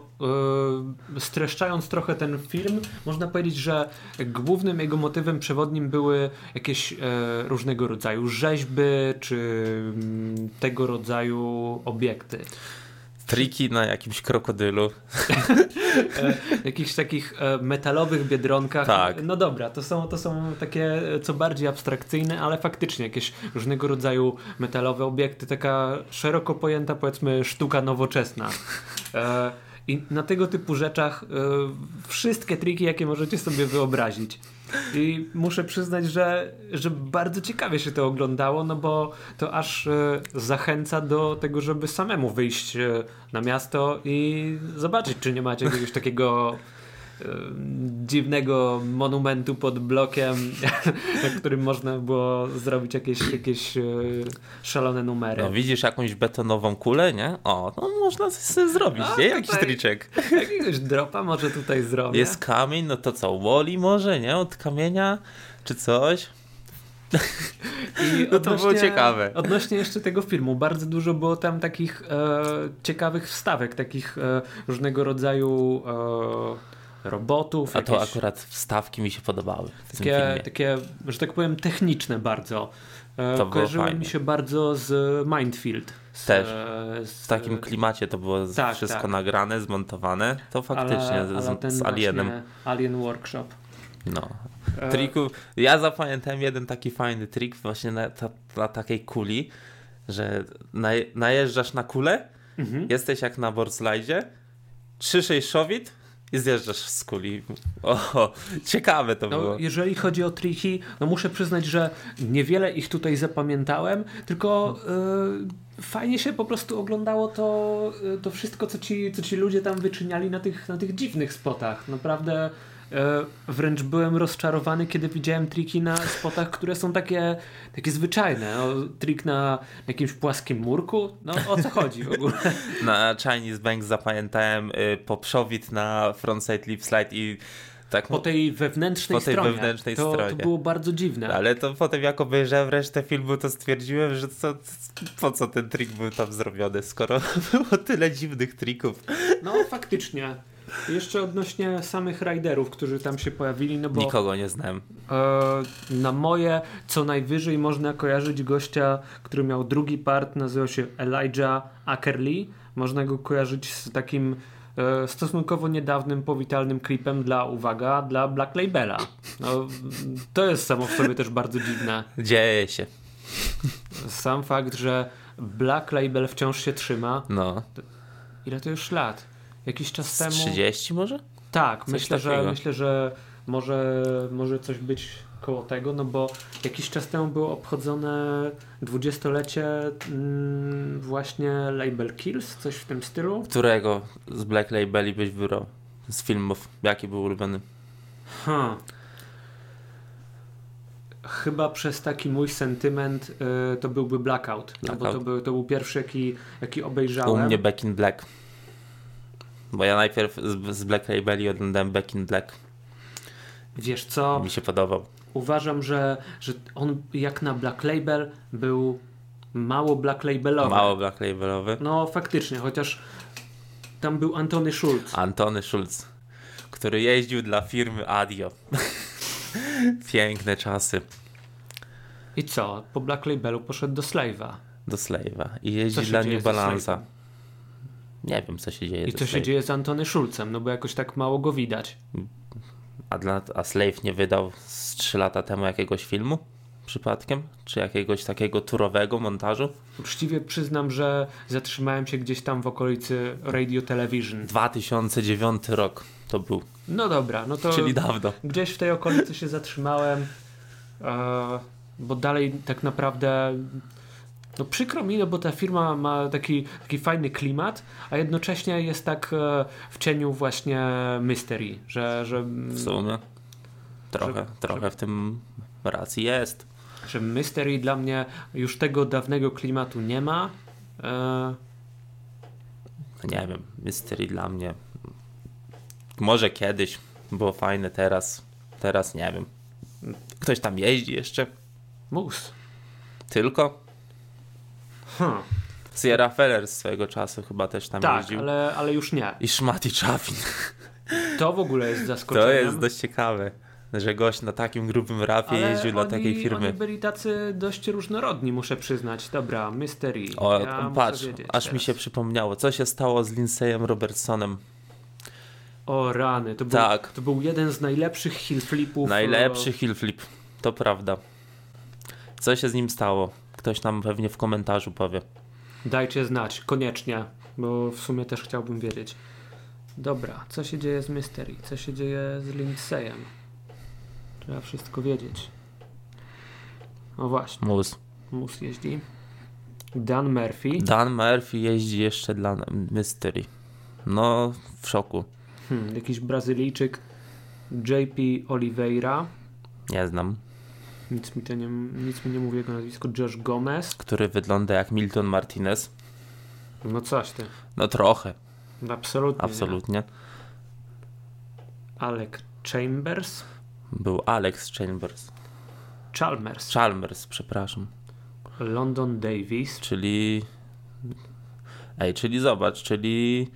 [SPEAKER 2] y, streszczając trochę ten film, można powiedzieć, że głównym jego motywem przewodnim były jakieś y, różnego rodzaju rzeźby czy mm, tego rodzaju obiekty.
[SPEAKER 1] Triki na jakimś krokodylu.
[SPEAKER 2] Jakichś takich e, metalowych biedronkach.
[SPEAKER 1] Tak.
[SPEAKER 2] No dobra, to są, to są takie e, co bardziej abstrakcyjne, ale faktycznie jakieś różnego rodzaju metalowe obiekty, taka szeroko pojęta powiedzmy sztuka nowoczesna. E, I na tego typu rzeczach e, wszystkie triki, jakie możecie sobie wyobrazić. I muszę przyznać, że, że bardzo ciekawie się to oglądało, no bo to aż e, zachęca do tego, żeby samemu wyjść e, na miasto i zobaczyć, czy nie macie jakiegoś takiego dziwnego monumentu pod blokiem, na którym można było zrobić jakieś, jakieś e, szalone numery.
[SPEAKER 1] No widzisz jakąś betonową kulę, nie? O, no można sobie zrobić,
[SPEAKER 2] A,
[SPEAKER 1] nie? Jakiś
[SPEAKER 2] No, tutaj-
[SPEAKER 1] triczek.
[SPEAKER 2] Jakiegoś dropa może tutaj zrobię.
[SPEAKER 1] Jest kamień, no to co, woli może, nie? Od kamienia czy coś?
[SPEAKER 2] I
[SPEAKER 1] No to było ciekawe.
[SPEAKER 2] Odnośnie jeszcze tego filmu, bardzo dużo było tam takich e, ciekawych wstawek, takich e, różnego rodzaju e, robotów.
[SPEAKER 1] A to
[SPEAKER 2] jakieś
[SPEAKER 1] akurat wstawki mi się podobały w tym
[SPEAKER 2] takie,
[SPEAKER 1] filmie.
[SPEAKER 2] takie, że tak powiem, techniczne bardzo. E,
[SPEAKER 1] To było
[SPEAKER 2] kojarzyły
[SPEAKER 1] fajne.
[SPEAKER 2] mi się bardzo z Mindfield. Z,
[SPEAKER 1] Też.
[SPEAKER 2] e, z,
[SPEAKER 1] W takim klimacie to było z-
[SPEAKER 2] Tak,
[SPEAKER 1] wszystko
[SPEAKER 2] tak.
[SPEAKER 1] nagrane, zmontowane. To faktycznie
[SPEAKER 2] ale- ale
[SPEAKER 1] z,
[SPEAKER 2] ten
[SPEAKER 1] z Alienem.
[SPEAKER 2] właśnie Alien Workshop.
[SPEAKER 1] No.
[SPEAKER 2] E,
[SPEAKER 1] Trików. Ja zapamiętałem jeden taki fajny trik właśnie na, ta, na takiej kuli, że na, najeżdżasz na kulę,
[SPEAKER 2] Mhm.
[SPEAKER 1] jesteś jak na borslajdzie, trzyszyj szowit i zjeżdżasz z kuli. O, ciekawe to
[SPEAKER 2] No,
[SPEAKER 1] było.
[SPEAKER 2] jeżeli chodzi o triki, no muszę przyznać, że niewiele ich tutaj zapamiętałem, tylko y, fajnie się po prostu oglądało to, y, to wszystko, co ci, co ci ludzie tam wyczyniali na tych, na tych dziwnych spotach. Naprawdę y, wręcz byłem rozczarowany, kiedy widziałem triki na spotach, które są takie, takie zwyczajne. No, trik na jakimś płaskim murku? No o co chodzi w ogóle?
[SPEAKER 1] Na Chinese Bank zapamiętałem y, poprzowit na frontside lip slide i tak
[SPEAKER 2] Po tej wewnętrznej
[SPEAKER 1] Po tej
[SPEAKER 2] stronie.
[SPEAKER 1] wewnętrznej
[SPEAKER 2] to,
[SPEAKER 1] stronie.
[SPEAKER 2] to było bardzo dziwne.
[SPEAKER 1] Ale to potem jak obejrzałem resztę filmu, to stwierdziłem, że co, po co ten trik był tam zrobiony, skoro było tyle dziwnych trików.
[SPEAKER 2] No faktycznie. Jeszcze odnośnie samych rajderów, którzy tam się pojawili, no bo
[SPEAKER 1] Nikogo nie znałem.
[SPEAKER 2] e, na moje co najwyżej można kojarzyć gościa, który miał drugi part, nazywał się Elijah Ackerley. Można go kojarzyć z takim e, stosunkowo niedawnym powitalnym klipem dla, uwaga, dla Black Labela. No, m, to jest samo w sobie też bardzo dziwne.
[SPEAKER 1] Dzieje się.
[SPEAKER 2] Sam fakt, że Black Label wciąż się trzyma.
[SPEAKER 1] No.
[SPEAKER 2] Ile to już lat? Jakiś czas
[SPEAKER 1] Z
[SPEAKER 2] temu...
[SPEAKER 1] 30 może?
[SPEAKER 2] Tak,
[SPEAKER 1] Coś
[SPEAKER 2] myślę, że,
[SPEAKER 1] takiego.
[SPEAKER 2] myślę, że może, może coś być koło tego, no bo jakiś czas temu było obchodzone dwudziestolecie mm, właśnie Label Kills, coś w tym stylu.
[SPEAKER 1] Którego z Black Labeli byś wybrał? Z filmów, jaki był ulubiony?
[SPEAKER 2] Hmm. Chyba przez taki mój sentyment y, to byłby Blackout, No bo to
[SPEAKER 1] Blackout.
[SPEAKER 2] był, to był pierwszy, jaki, jaki obejrzałem.
[SPEAKER 1] U mnie Back in Black. Bo ja najpierw z, z Black Labeli oglądałem Back in Black.
[SPEAKER 2] Wiesz co,
[SPEAKER 1] Mi się podobał.
[SPEAKER 2] uważam, że, że on jak na Black Label był mało Black Labelowy.
[SPEAKER 1] Mało Black Labelowy.
[SPEAKER 2] No faktycznie, chociaż tam był Antony Schulz.
[SPEAKER 1] Antony Schulz, który jeździł dla firmy Adio. Piękne czasy
[SPEAKER 2] I co? Po Black Labelu poszedł do Slave'a.
[SPEAKER 1] do Slave'a i
[SPEAKER 2] Co
[SPEAKER 1] jeździ
[SPEAKER 2] się
[SPEAKER 1] dla
[SPEAKER 2] dzieje
[SPEAKER 1] New
[SPEAKER 2] ze
[SPEAKER 1] Balance'a. Nie wiem, co się dzieje.
[SPEAKER 2] I
[SPEAKER 1] ze
[SPEAKER 2] co się
[SPEAKER 1] Slave'em.
[SPEAKER 2] dzieje z Antony Schulzem? No bo jakoś tak mało go widać.
[SPEAKER 1] A, dla, a Slave nie wydał z 3 lata temu jakiegoś filmu przypadkiem? Czy jakiegoś takiego turowego montażu?
[SPEAKER 2] Uczciwie przyznam, że zatrzymałem się gdzieś tam w okolicy Radio Television.
[SPEAKER 1] 2009 rok to był,
[SPEAKER 2] No dobra, no to
[SPEAKER 1] czyli dawno.
[SPEAKER 2] gdzieś w tej okolicy się zatrzymałem, e, bo dalej tak naprawdę no przykro mi, no bo ta firma ma taki, taki fajny klimat, a jednocześnie jest tak e, w cieniu właśnie mystery, że, że
[SPEAKER 1] W sumie trochę,
[SPEAKER 2] Że-
[SPEAKER 1] trochę w tym racji jest.
[SPEAKER 2] że Mystery dla mnie już tego dawnego klimatu nie ma. E,
[SPEAKER 1] No nie wiem, mystery dla mnie. Może kiedyś było fajne, teraz, teraz nie wiem. Ktoś tam jeździ jeszcze,
[SPEAKER 2] mus.
[SPEAKER 1] tylko.
[SPEAKER 2] Hm.
[SPEAKER 1] Sierra Feller swojego czasu chyba też tam
[SPEAKER 2] Tak,
[SPEAKER 1] jeździł.
[SPEAKER 2] ale, ale już nie.
[SPEAKER 1] I Szmati Czapin.
[SPEAKER 2] To w ogóle jest zaskoczeniem.
[SPEAKER 1] To jest dość ciekawe, że gość na takim grubym rapie
[SPEAKER 2] ale
[SPEAKER 1] jeździł dla
[SPEAKER 2] oni,
[SPEAKER 1] takiej firmy.
[SPEAKER 2] Oni byli tacy dość różnorodni, muszę przyznać. Dobra, Mystery.
[SPEAKER 1] O,
[SPEAKER 2] ja muszę
[SPEAKER 1] patrz,
[SPEAKER 2] wiedzieć
[SPEAKER 1] aż mi
[SPEAKER 2] teraz.
[SPEAKER 1] się przypomniało, co się stało z Lindsayem Robertsonem.
[SPEAKER 2] O rany, to był,
[SPEAKER 1] Tak.
[SPEAKER 2] to był jeden z najlepszych heel flipów.
[SPEAKER 1] Najlepszy
[SPEAKER 2] no.
[SPEAKER 1] heel flip, to prawda. Co się z nim stało? Ktoś nam pewnie w komentarzu powie.
[SPEAKER 2] Dajcie znać, koniecznie, bo w sumie też chciałbym wiedzieć. Dobra, co się dzieje z Mystery? Co się dzieje z Lindsayem? Trzeba wszystko wiedzieć. No właśnie,
[SPEAKER 1] Mus.
[SPEAKER 2] Mus jeździ. Dan Murphy.
[SPEAKER 1] Dan Murphy jeździ jeszcze dla Mystery. No, w szoku.
[SPEAKER 2] Hmm, jakiś Brazylijczyk JP Oliveira.
[SPEAKER 1] Nie znam.
[SPEAKER 2] Nic mi, to nie, nic mi nie mówi jego nazwisko. Josh Gomez.
[SPEAKER 1] Który wygląda jak Milton Martinez.
[SPEAKER 2] No coś ty.
[SPEAKER 1] No trochę,
[SPEAKER 2] Absolutnie. nie.
[SPEAKER 1] absolutnie.
[SPEAKER 2] Alec Chambers.
[SPEAKER 1] Był Alex Chambers.
[SPEAKER 2] Chalmers.
[SPEAKER 1] Chalmers, przepraszam.
[SPEAKER 2] London Davis.
[SPEAKER 1] Czyli. Ej, czyli zobacz, czyli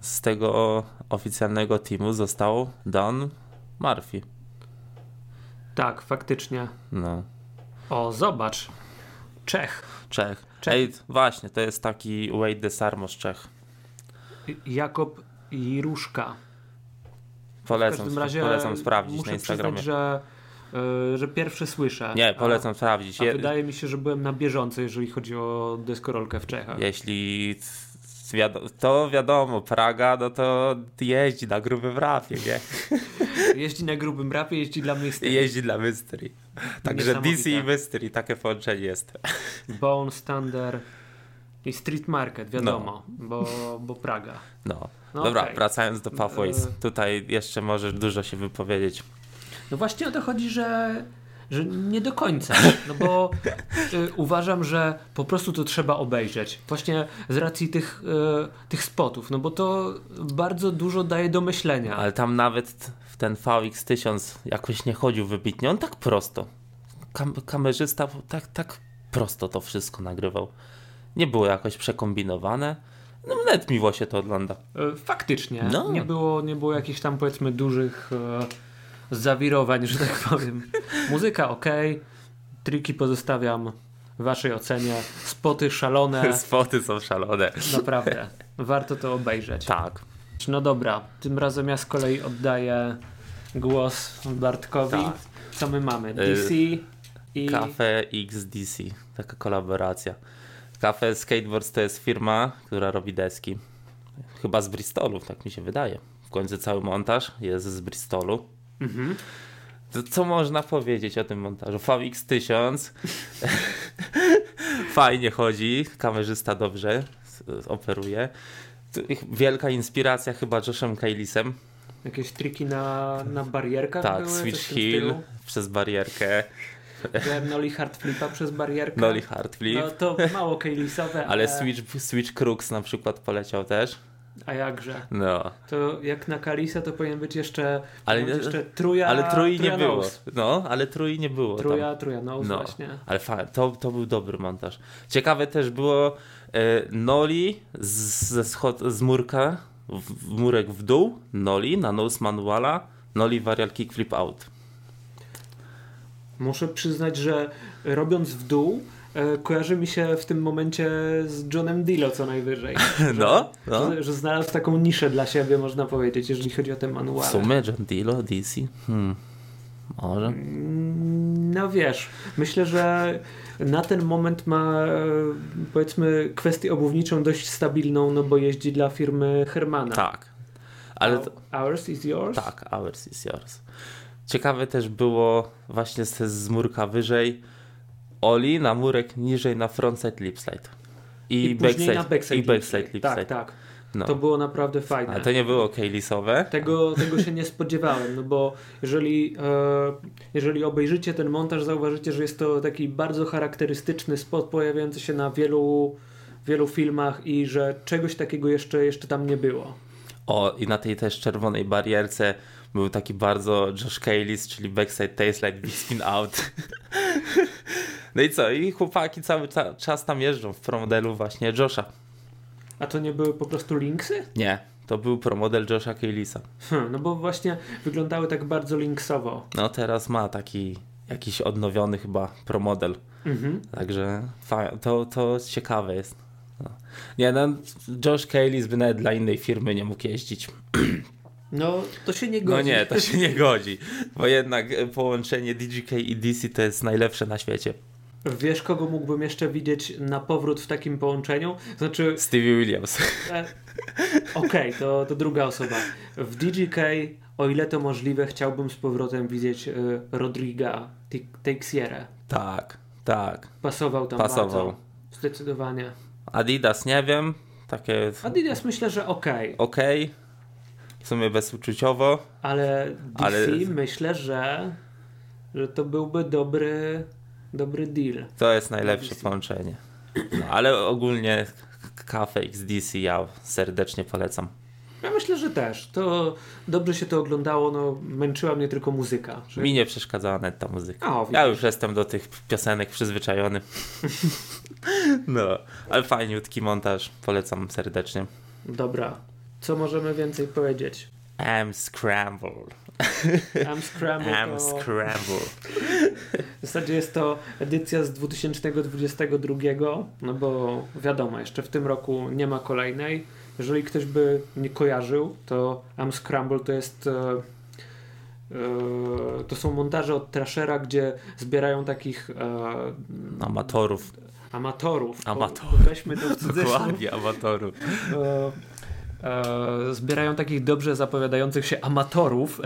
[SPEAKER 1] z tego oficjalnego teamu został Don Murphy.
[SPEAKER 2] Tak, faktycznie.
[SPEAKER 1] No.
[SPEAKER 2] O, zobacz. Czech.
[SPEAKER 1] Czech.
[SPEAKER 2] Czech.
[SPEAKER 1] Ej, właśnie, to jest taki Wade Desarmo z Czech.
[SPEAKER 2] Jakob Jiruszka. W
[SPEAKER 1] Polecam,
[SPEAKER 2] każdym razie
[SPEAKER 1] polecam sprawdzić
[SPEAKER 2] muszę
[SPEAKER 1] na Instagramie.
[SPEAKER 2] Przyznać, że, y, że pierwszy słyszę.
[SPEAKER 1] Nie, polecam sprawdzić.
[SPEAKER 2] A, a
[SPEAKER 1] Je,
[SPEAKER 2] wydaje mi się, że byłem na bieżąco, jeżeli chodzi o deskorolkę w Czechach.
[SPEAKER 1] Jeśli c- wiado to wiadomo, Praga, no to jeździ na grubym rafie, nie?
[SPEAKER 2] Jeździ na grubym rapie, jeździ dla mnie
[SPEAKER 1] Jeździ dla Mystery. Także DC i
[SPEAKER 2] Niesamowite.
[SPEAKER 1] Mystery, takie połączenie jest.
[SPEAKER 2] Bone, Standard i Street Market, wiadomo, bo, bo Praga.
[SPEAKER 1] No,
[SPEAKER 2] No
[SPEAKER 1] dobra,
[SPEAKER 2] okej.
[SPEAKER 1] wracając do Pathways.
[SPEAKER 2] Yy.
[SPEAKER 1] Tutaj jeszcze możesz dużo się wypowiedzieć.
[SPEAKER 2] No właśnie o to chodzi, że, że nie do końca, no bo y, uważam, że po prostu to trzeba obejrzeć. Właśnie z racji tych, y, tych spotów, no bo to bardzo dużo daje do myślenia.
[SPEAKER 1] Ale tam nawet t- w ten VX1000 jakoś nie chodził wybitnie. On tak prosto. Kam kamerzysta tak, tak prosto to wszystko nagrywał. Nie było jakoś przekombinowane. No, nawet miło się to ogląda.
[SPEAKER 2] E, Faktycznie.
[SPEAKER 1] No.
[SPEAKER 2] Nie, było, nie było jakichś tam powiedzmy dużych e, zawirowań, że tak powiem. Muzyka ok, triki pozostawiam w waszej ocenie. Spoty szalone,
[SPEAKER 1] Spoty są szalone.
[SPEAKER 2] naprawdę. Warto to obejrzeć.
[SPEAKER 1] Tak,
[SPEAKER 2] No dobra, tym razem ja z kolei oddaję głos Bartkowi.
[SPEAKER 1] Tak.
[SPEAKER 2] Co my mamy? DC i...
[SPEAKER 1] Cafe XDC, taka kolaboracja. Cafe Skateboards to jest firma, która robi deski. Chyba z Bristolu, tak mi się wydaje. W końcu cały montaż jest z Bristolu.
[SPEAKER 2] Mhm.
[SPEAKER 1] To co można powiedzieć o tym montażu? VX1000 fajnie chodzi, kamerzysta dobrze s- operuje. Tu ich- Wielka inspiracja chyba Joshem Kailisem.
[SPEAKER 2] Jakieś triki na, na barierkach
[SPEAKER 1] Tak,
[SPEAKER 2] były?
[SPEAKER 1] Switch
[SPEAKER 2] Coś w tym stylu? Tak.
[SPEAKER 1] Hill przez barierkę,
[SPEAKER 2] Miałem Nolly Hard Flipa przez barierkę.
[SPEAKER 1] Nolly Hardflip.
[SPEAKER 2] No to mało Kejlisowe,
[SPEAKER 1] Ale Switch, Switch Crux na przykład poleciał też.
[SPEAKER 2] A jakże?
[SPEAKER 1] No.
[SPEAKER 2] To jak na Kalisa to powinien być jeszcze,
[SPEAKER 1] Ale-
[SPEAKER 2] ale, jeszcze truja.
[SPEAKER 1] Ale trój nie
[SPEAKER 2] truja
[SPEAKER 1] było.
[SPEAKER 2] Nose.
[SPEAKER 1] No, ale trój nie było. tam.
[SPEAKER 2] Truja, truja nose
[SPEAKER 1] No.
[SPEAKER 2] właśnie.
[SPEAKER 1] Ale fa- to, to był dobry montaż. Ciekawe też było e, Noli z, ze schod, z murka, w, w murek w dół, Noli na nose manuala, Noli varial kick flip out.
[SPEAKER 2] Muszę przyznać, że robiąc w dół, e, kojarzy mi się w tym momencie z Johnem Dillo co najwyżej.
[SPEAKER 1] No, no.
[SPEAKER 2] Że, że znalazł taką niszę dla siebie, można powiedzieć, jeżeli chodzi o te
[SPEAKER 1] W
[SPEAKER 2] manuale.
[SPEAKER 1] sumie John Dillo, DC. Hmm. Może.
[SPEAKER 2] No. Mm, No wiesz, myślę, że na ten moment ma e, powiedzmy kwestię obuwniczą dość stabilną, no bo jeździ dla firmy Hermana.
[SPEAKER 1] Tak.
[SPEAKER 2] No.
[SPEAKER 1] Ale to,
[SPEAKER 2] Ours is yours?
[SPEAKER 1] Tak, ours is yours. Ciekawe też było właśnie z, z murka wyżej Oli na murek niżej na frontside lipslide. I,
[SPEAKER 2] I później
[SPEAKER 1] backside,
[SPEAKER 2] na backside.
[SPEAKER 1] I backside
[SPEAKER 2] lipstick.
[SPEAKER 1] lipslide.
[SPEAKER 2] Tak, tak.
[SPEAKER 1] No.
[SPEAKER 2] To było naprawdę fajne.
[SPEAKER 1] A to nie było Kaylisowe.
[SPEAKER 2] Tego, tego się nie spodziewałem, no bo jeżeli, e, jeżeli obejrzycie ten montaż, zauważycie, że jest to taki bardzo charakterystyczny spot pojawiający się na wielu, wielu filmach i że czegoś takiego jeszcze, jeszcze tam nie było.
[SPEAKER 1] O, i na tej też czerwonej barierce był taki bardzo Josh Kaylis, czyli backside tailslide, big spin out. No i co? I chłopaki cały ca- czas tam jeżdżą w promodelu właśnie Josha.
[SPEAKER 2] A to nie były po prostu linksy?
[SPEAKER 1] Nie, to był promodel Josha Kaylisa.
[SPEAKER 2] Hm, no bo właśnie wyglądały tak bardzo linksowo.
[SPEAKER 1] No teraz ma taki jakiś odnowiony chyba promodel.
[SPEAKER 2] Mhm.
[SPEAKER 1] Także fa- to, to ciekawe jest. No. Nie, no, Josh Kaylis by nawet dla innej firmy nie mógł jeździć.
[SPEAKER 2] No to się nie godzi.
[SPEAKER 1] No nie, to się nie godzi, bo jednak e, połączenie DGK i DC to jest najlepsze na świecie.
[SPEAKER 2] Wiesz, kogo mógłbym jeszcze widzieć na powrót w takim połączeniu? Znaczy,
[SPEAKER 1] Stevie Williams.
[SPEAKER 2] E, Okej, to, to druga osoba. W DGK, o ile to możliwe, chciałbym z powrotem widzieć y, Rodriga Ti- Teixeira.
[SPEAKER 1] tak, tak.
[SPEAKER 2] Pasował tam
[SPEAKER 1] Pasował.
[SPEAKER 2] bardzo. Zdecydowanie.
[SPEAKER 1] Adidas nie wiem, takie
[SPEAKER 2] Adidas myślę, że okej.
[SPEAKER 1] okej. w sumie bezuczuciowo.
[SPEAKER 2] Ale DC
[SPEAKER 1] Ale-
[SPEAKER 2] myślę, że, że to byłby dobry, dobry deal.
[SPEAKER 1] To jest najlepsze
[SPEAKER 2] DC.
[SPEAKER 1] połączenie. No, ale ogólnie Cafe XDC ja serdecznie polecam.
[SPEAKER 2] Ja myślę, że też. To dobrze się to oglądało, no męczyła mnie tylko muzyka. Że...
[SPEAKER 1] Mi nie przeszkadzała nawet ta muzyka.
[SPEAKER 2] A, o, widzisz.
[SPEAKER 1] Ja już jestem do tych piosenek przyzwyczajony. No, ale fajniutki montaż, polecam serdecznie.
[SPEAKER 2] Dobra. Co możemy więcej powiedzieć?
[SPEAKER 1] I'm scrambled.
[SPEAKER 2] Am Scramble
[SPEAKER 1] I'm
[SPEAKER 2] to...
[SPEAKER 1] scrambled.
[SPEAKER 2] W zasadzie jest to edycja z 2022, no bo wiadomo, jeszcze w tym roku nie ma kolejnej. Jeżeli ktoś by nie kojarzył, to Am Scramble to jest. E, e, to są montaże od Trashera, gdzie zbierają takich e,
[SPEAKER 1] Amatorów,
[SPEAKER 2] amatorów. bo-
[SPEAKER 1] Amatorów.
[SPEAKER 2] Weźmy to w cudzysłów.
[SPEAKER 1] dokładnie amatorów.
[SPEAKER 2] E, e, zbierają takich dobrze zapowiadających się amatorów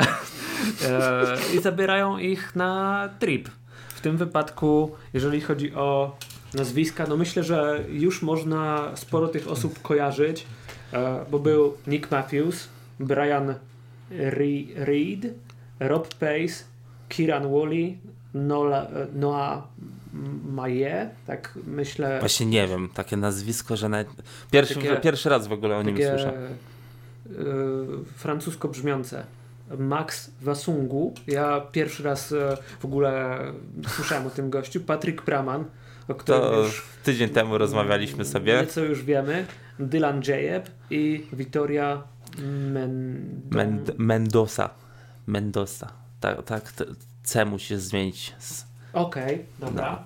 [SPEAKER 2] e, i zabierają ich na trip. W tym wypadku, jeżeli chodzi o nazwiska, no myślę, że już można sporo tych osób kojarzyć, e, bo był Nick Matthews, Brian Re- Reed, Rob Pace, Kiran Woolley, Nola, Noah Maje, tak myślę.
[SPEAKER 1] Właśnie nie wiem, takie nazwisko, że nawet... pierwszy,
[SPEAKER 2] Takie-
[SPEAKER 1] pierwszy raz w ogóle o nim
[SPEAKER 2] takie,
[SPEAKER 1] słyszę.
[SPEAKER 2] y, francusko brzmiące. Max Wasungu. Ja pierwszy raz y, w ogóle słyszałem o tym gościu. Patryk Praman, o którym
[SPEAKER 1] To
[SPEAKER 2] już
[SPEAKER 1] tydzień temu rozmawialiśmy sobie.
[SPEAKER 2] nieco już wiemy. Dylan Jayeb i Wiktoria Mendo...
[SPEAKER 1] Mend- Mendoza. Mendoza. Tak, tak t- C musi zmienić. S-
[SPEAKER 2] Okej, dobra.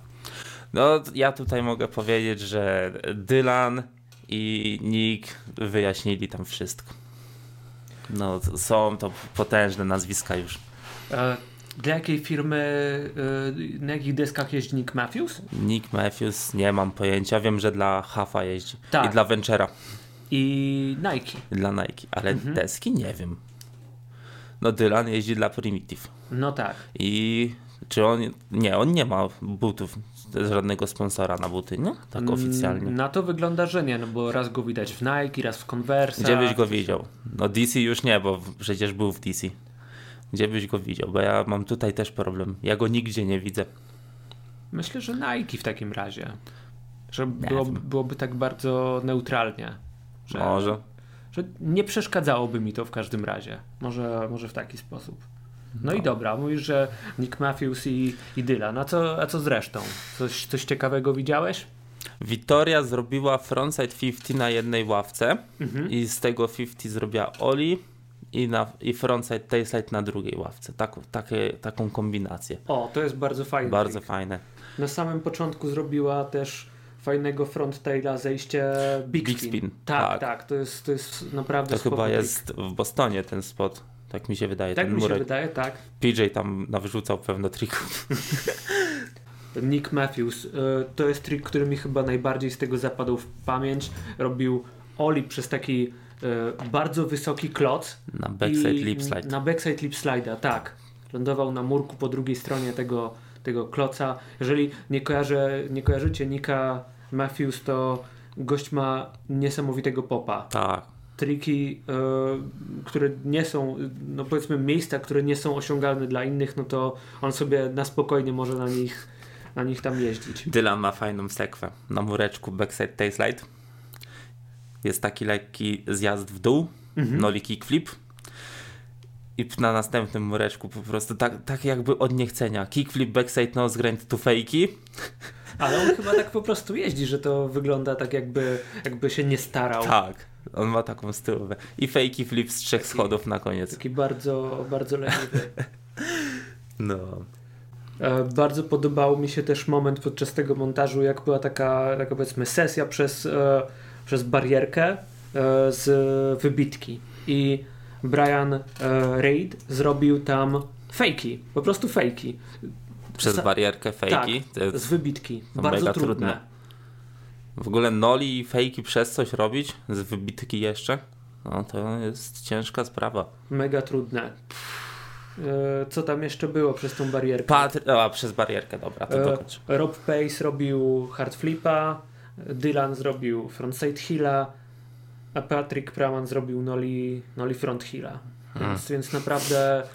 [SPEAKER 1] No, ja tutaj mogę powiedzieć, że Dylan i Nick wyjaśnili tam wszystko. No, to są to potężne nazwiska już.
[SPEAKER 2] E, Dla jakiej firmy, y, na jakich deskach jeździ Nick Matthews?
[SPEAKER 1] Nick Matthews, nie mam pojęcia. Wiem, że dla Hafa jeździ.
[SPEAKER 2] Tak.
[SPEAKER 1] I dla Ventura,
[SPEAKER 2] I Nike.
[SPEAKER 1] i dla Nike, ale deski nie wiem. No, Dylan jeździ dla Primitive.
[SPEAKER 2] No tak.
[SPEAKER 1] I czy on. Nie, on nie ma butów, żadnego sponsora na buty, nie? Tak oficjalnie.
[SPEAKER 2] Na to wygląda, że nie, no bo raz go widać w Nike, raz w Converse.
[SPEAKER 1] Gdzie byś go widział? No DC już nie, bo w- przecież był w DC. Gdzie byś go widział? Bo ja mam tutaj też problem. Ja go nigdzie nie widzę.
[SPEAKER 2] Myślę, że Nike w takim razie. Że
[SPEAKER 1] Nie
[SPEAKER 2] było, byłoby tak bardzo neutralnie. Że,
[SPEAKER 1] Może.
[SPEAKER 2] że nie przeszkadzałoby mi to w każdym razie. Może, może w taki sposób. No, i dobra, mówisz, że Nick Matthews i, i Dylan. A co, a co z resztą? Coś, coś ciekawego widziałeś?
[SPEAKER 1] Witoria zrobiła frontside 50 na jednej ławce i z tego 50 zrobiła Oli i, na, i frontside tailslide na drugiej ławce. Tak, takie, taką kombinację.
[SPEAKER 2] O, to jest bardzo fajne.
[SPEAKER 1] Bardzo fajne.
[SPEAKER 2] Na samym początku zrobiła też fajnego front taila zejście Big,
[SPEAKER 1] Big
[SPEAKER 2] Spin.
[SPEAKER 1] Spin,
[SPEAKER 2] Tak, tak,
[SPEAKER 1] tak.
[SPEAKER 2] to, jest, to jest naprawdę
[SPEAKER 1] To
[SPEAKER 2] spoko
[SPEAKER 1] chyba
[SPEAKER 2] trik.
[SPEAKER 1] jest w Bostonie ten spot. Tak mi się wydaje,
[SPEAKER 2] Tak
[SPEAKER 1] ten
[SPEAKER 2] mi się
[SPEAKER 1] murek.
[SPEAKER 2] wydaje, tak.
[SPEAKER 1] PJ tam nawrzucał pewno trików.
[SPEAKER 2] Nick Matthews, y, to jest trik, który mi chyba najbardziej z tego zapadł w pamięć. Robił Oli przez taki y, bardzo wysoki kloc.
[SPEAKER 1] Na backside
[SPEAKER 2] i-
[SPEAKER 1] lip slide.
[SPEAKER 2] Na backside lip slide'a, tak. Lądował na murku po drugiej stronie tego, tego kloca. Jeżeli nie, kojarzę, nie kojarzycie Nicka Matthews, to gość ma niesamowitego popa.
[SPEAKER 1] Tak.
[SPEAKER 2] triki, y, które nie są, no powiedzmy miejsca, które nie są osiągalne dla innych, no to on sobie na spokojnie może na nich, na nich tam jeździć.
[SPEAKER 1] Dylan ma fajną sekwę. Na mureczku backside tail slide. Jest taki lekki zjazd w dół,
[SPEAKER 2] Mhm.
[SPEAKER 1] noli kickflip. I p- na następnym mureczku po prostu tak, tak jakby od niechcenia. Kickflip, backside nose grind, tu fejki.
[SPEAKER 2] Ale on chyba tak po prostu jeździ, że to wygląda tak jakby, jakby się nie starał.
[SPEAKER 1] Tak. On ma taką stylowę. I fejki flip z trzech schodów na koniec.
[SPEAKER 2] Taki bardzo, bardzo leniwy.
[SPEAKER 1] No.
[SPEAKER 2] E, Bardzo podobał mi się też moment podczas tego montażu, jak była taka, taka powiedzmy sesja przez, e, przez barierkę e, z wybitki. I Brian e, Reid zrobił tam fejki, po prostu fejki.
[SPEAKER 1] Przez
[SPEAKER 2] Za-
[SPEAKER 1] barierkę fejki. To
[SPEAKER 2] Tak, z
[SPEAKER 1] jest
[SPEAKER 2] wybitki.
[SPEAKER 1] to
[SPEAKER 2] Bardzo
[SPEAKER 1] mega
[SPEAKER 2] trudne.
[SPEAKER 1] trudne. W ogóle noli i fejki przez coś robić, z wybitki jeszcze. No to jest ciężka sprawa.
[SPEAKER 2] Mega trudne. E, Co tam jeszcze było przez tą barierkę?
[SPEAKER 1] Patr- a, przez barierkę, dobra, to
[SPEAKER 2] E,
[SPEAKER 1] dokończ.
[SPEAKER 2] Rob Pace robił hard flipa, Dylan zrobił frontside hilla, a Patrick Praman zrobił Noli, Noli Front Hilla.
[SPEAKER 1] Hmm.
[SPEAKER 2] Więc, więc naprawdę y,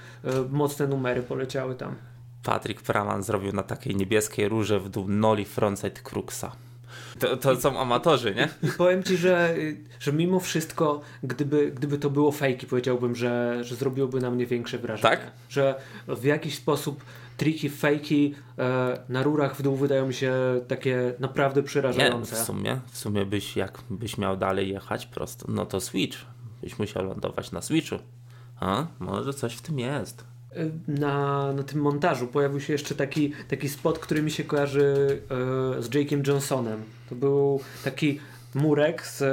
[SPEAKER 2] mocne numery poleciały tam.
[SPEAKER 1] Patrick Praman zrobił na takiej niebieskiej róże w dół Noli Frontside Cruxa. To, to są amatorzy, nie?
[SPEAKER 2] I powiem ci, że, y, że mimo wszystko, gdyby, gdyby to było fejki, powiedziałbym, że, że zrobiłoby na mnie większe wrażenie.
[SPEAKER 1] Tak?
[SPEAKER 2] Że w jakiś sposób triki, fejki e, na rurach w dół wydają mi się takie naprawdę
[SPEAKER 1] Nie,
[SPEAKER 2] przerażające.
[SPEAKER 1] w sumie, w sumie byś, jak byś miał dalej jechać prosto, no to Switch. Byś musiał lądować na Switchu. A? Może coś w tym jest.
[SPEAKER 2] na, na tym montażu pojawił się jeszcze taki, taki spot, który mi się kojarzy e, z Jake'iem Johnsonem. To był taki murek z, e,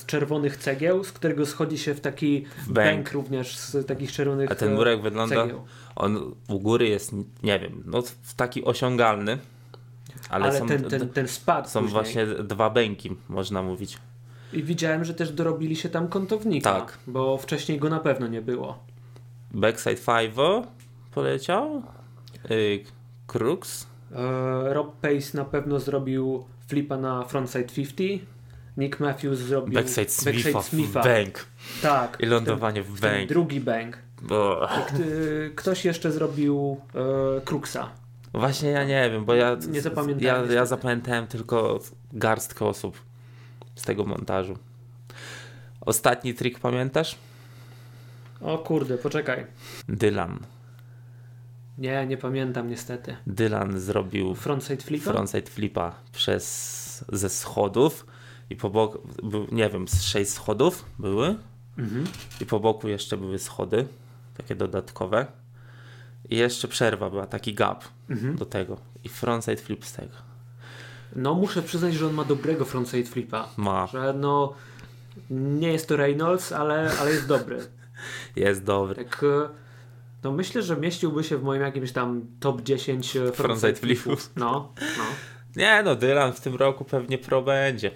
[SPEAKER 2] z czerwonych cegieł, z którego schodzi się w taki
[SPEAKER 1] bęk.
[SPEAKER 2] bęk również z takich czerwonych
[SPEAKER 1] A ten
[SPEAKER 2] e,
[SPEAKER 1] murek wygląda,
[SPEAKER 2] cegieł.
[SPEAKER 1] on u góry jest, nie wiem, no w taki osiągalny, ale,
[SPEAKER 2] Ale,
[SPEAKER 1] są,
[SPEAKER 2] ten, ten, ten spad
[SPEAKER 1] są
[SPEAKER 2] później.
[SPEAKER 1] właśnie dwa bęki, można mówić.
[SPEAKER 2] I widziałem, że też dorobili się tam kątownika,
[SPEAKER 1] Tak.
[SPEAKER 2] bo wcześniej go na pewno nie było.
[SPEAKER 1] Backside Five poleciał, y, Crux,
[SPEAKER 2] E, Rob Pace na pewno zrobił flipa na frontside 50, Nick Matthews zrobił
[SPEAKER 1] Backside Smitha,
[SPEAKER 2] Smitha.
[SPEAKER 1] w bęk
[SPEAKER 2] Tak,
[SPEAKER 1] i lądowanie w
[SPEAKER 2] ten
[SPEAKER 1] bęk.
[SPEAKER 2] drugi bang.
[SPEAKER 1] Bo...
[SPEAKER 2] Gdy ktoś jeszcze zrobił e, Kruxa.
[SPEAKER 1] Właśnie ja nie wiem, bo ja,
[SPEAKER 2] Nie zapamiętałem
[SPEAKER 1] ja, ja
[SPEAKER 2] niestety.
[SPEAKER 1] zapamiętałem tylko garstkę osób z tego montażu. Ostatni trik pamiętasz?
[SPEAKER 2] O kurde, poczekaj.
[SPEAKER 1] Dylan.
[SPEAKER 2] Nie, nie pamiętam niestety.
[SPEAKER 1] Dylan zrobił
[SPEAKER 2] Frontside flipa?
[SPEAKER 1] frontside flipa przez, ze schodów i po boku, był, nie wiem, z sześć schodów były
[SPEAKER 2] Mhm.
[SPEAKER 1] i po boku jeszcze były schody, takie dodatkowe. I jeszcze przerwa była, taki gap
[SPEAKER 2] Mhm.
[SPEAKER 1] do tego. I frontside flip z tego.
[SPEAKER 2] No muszę przyznać, że on ma dobrego frontside flipa.
[SPEAKER 1] Ma,
[SPEAKER 2] Że no nie jest to Reynolds, ale, ale jest dobry.
[SPEAKER 1] jest dobry.
[SPEAKER 2] Tak, e, no myślę, że mieściłby się w moim jakimś tam top 10 frontside,
[SPEAKER 1] Frontside
[SPEAKER 2] frontside flipów. No, no.
[SPEAKER 1] Nie no, Dylan w tym roku pewnie pro będzie.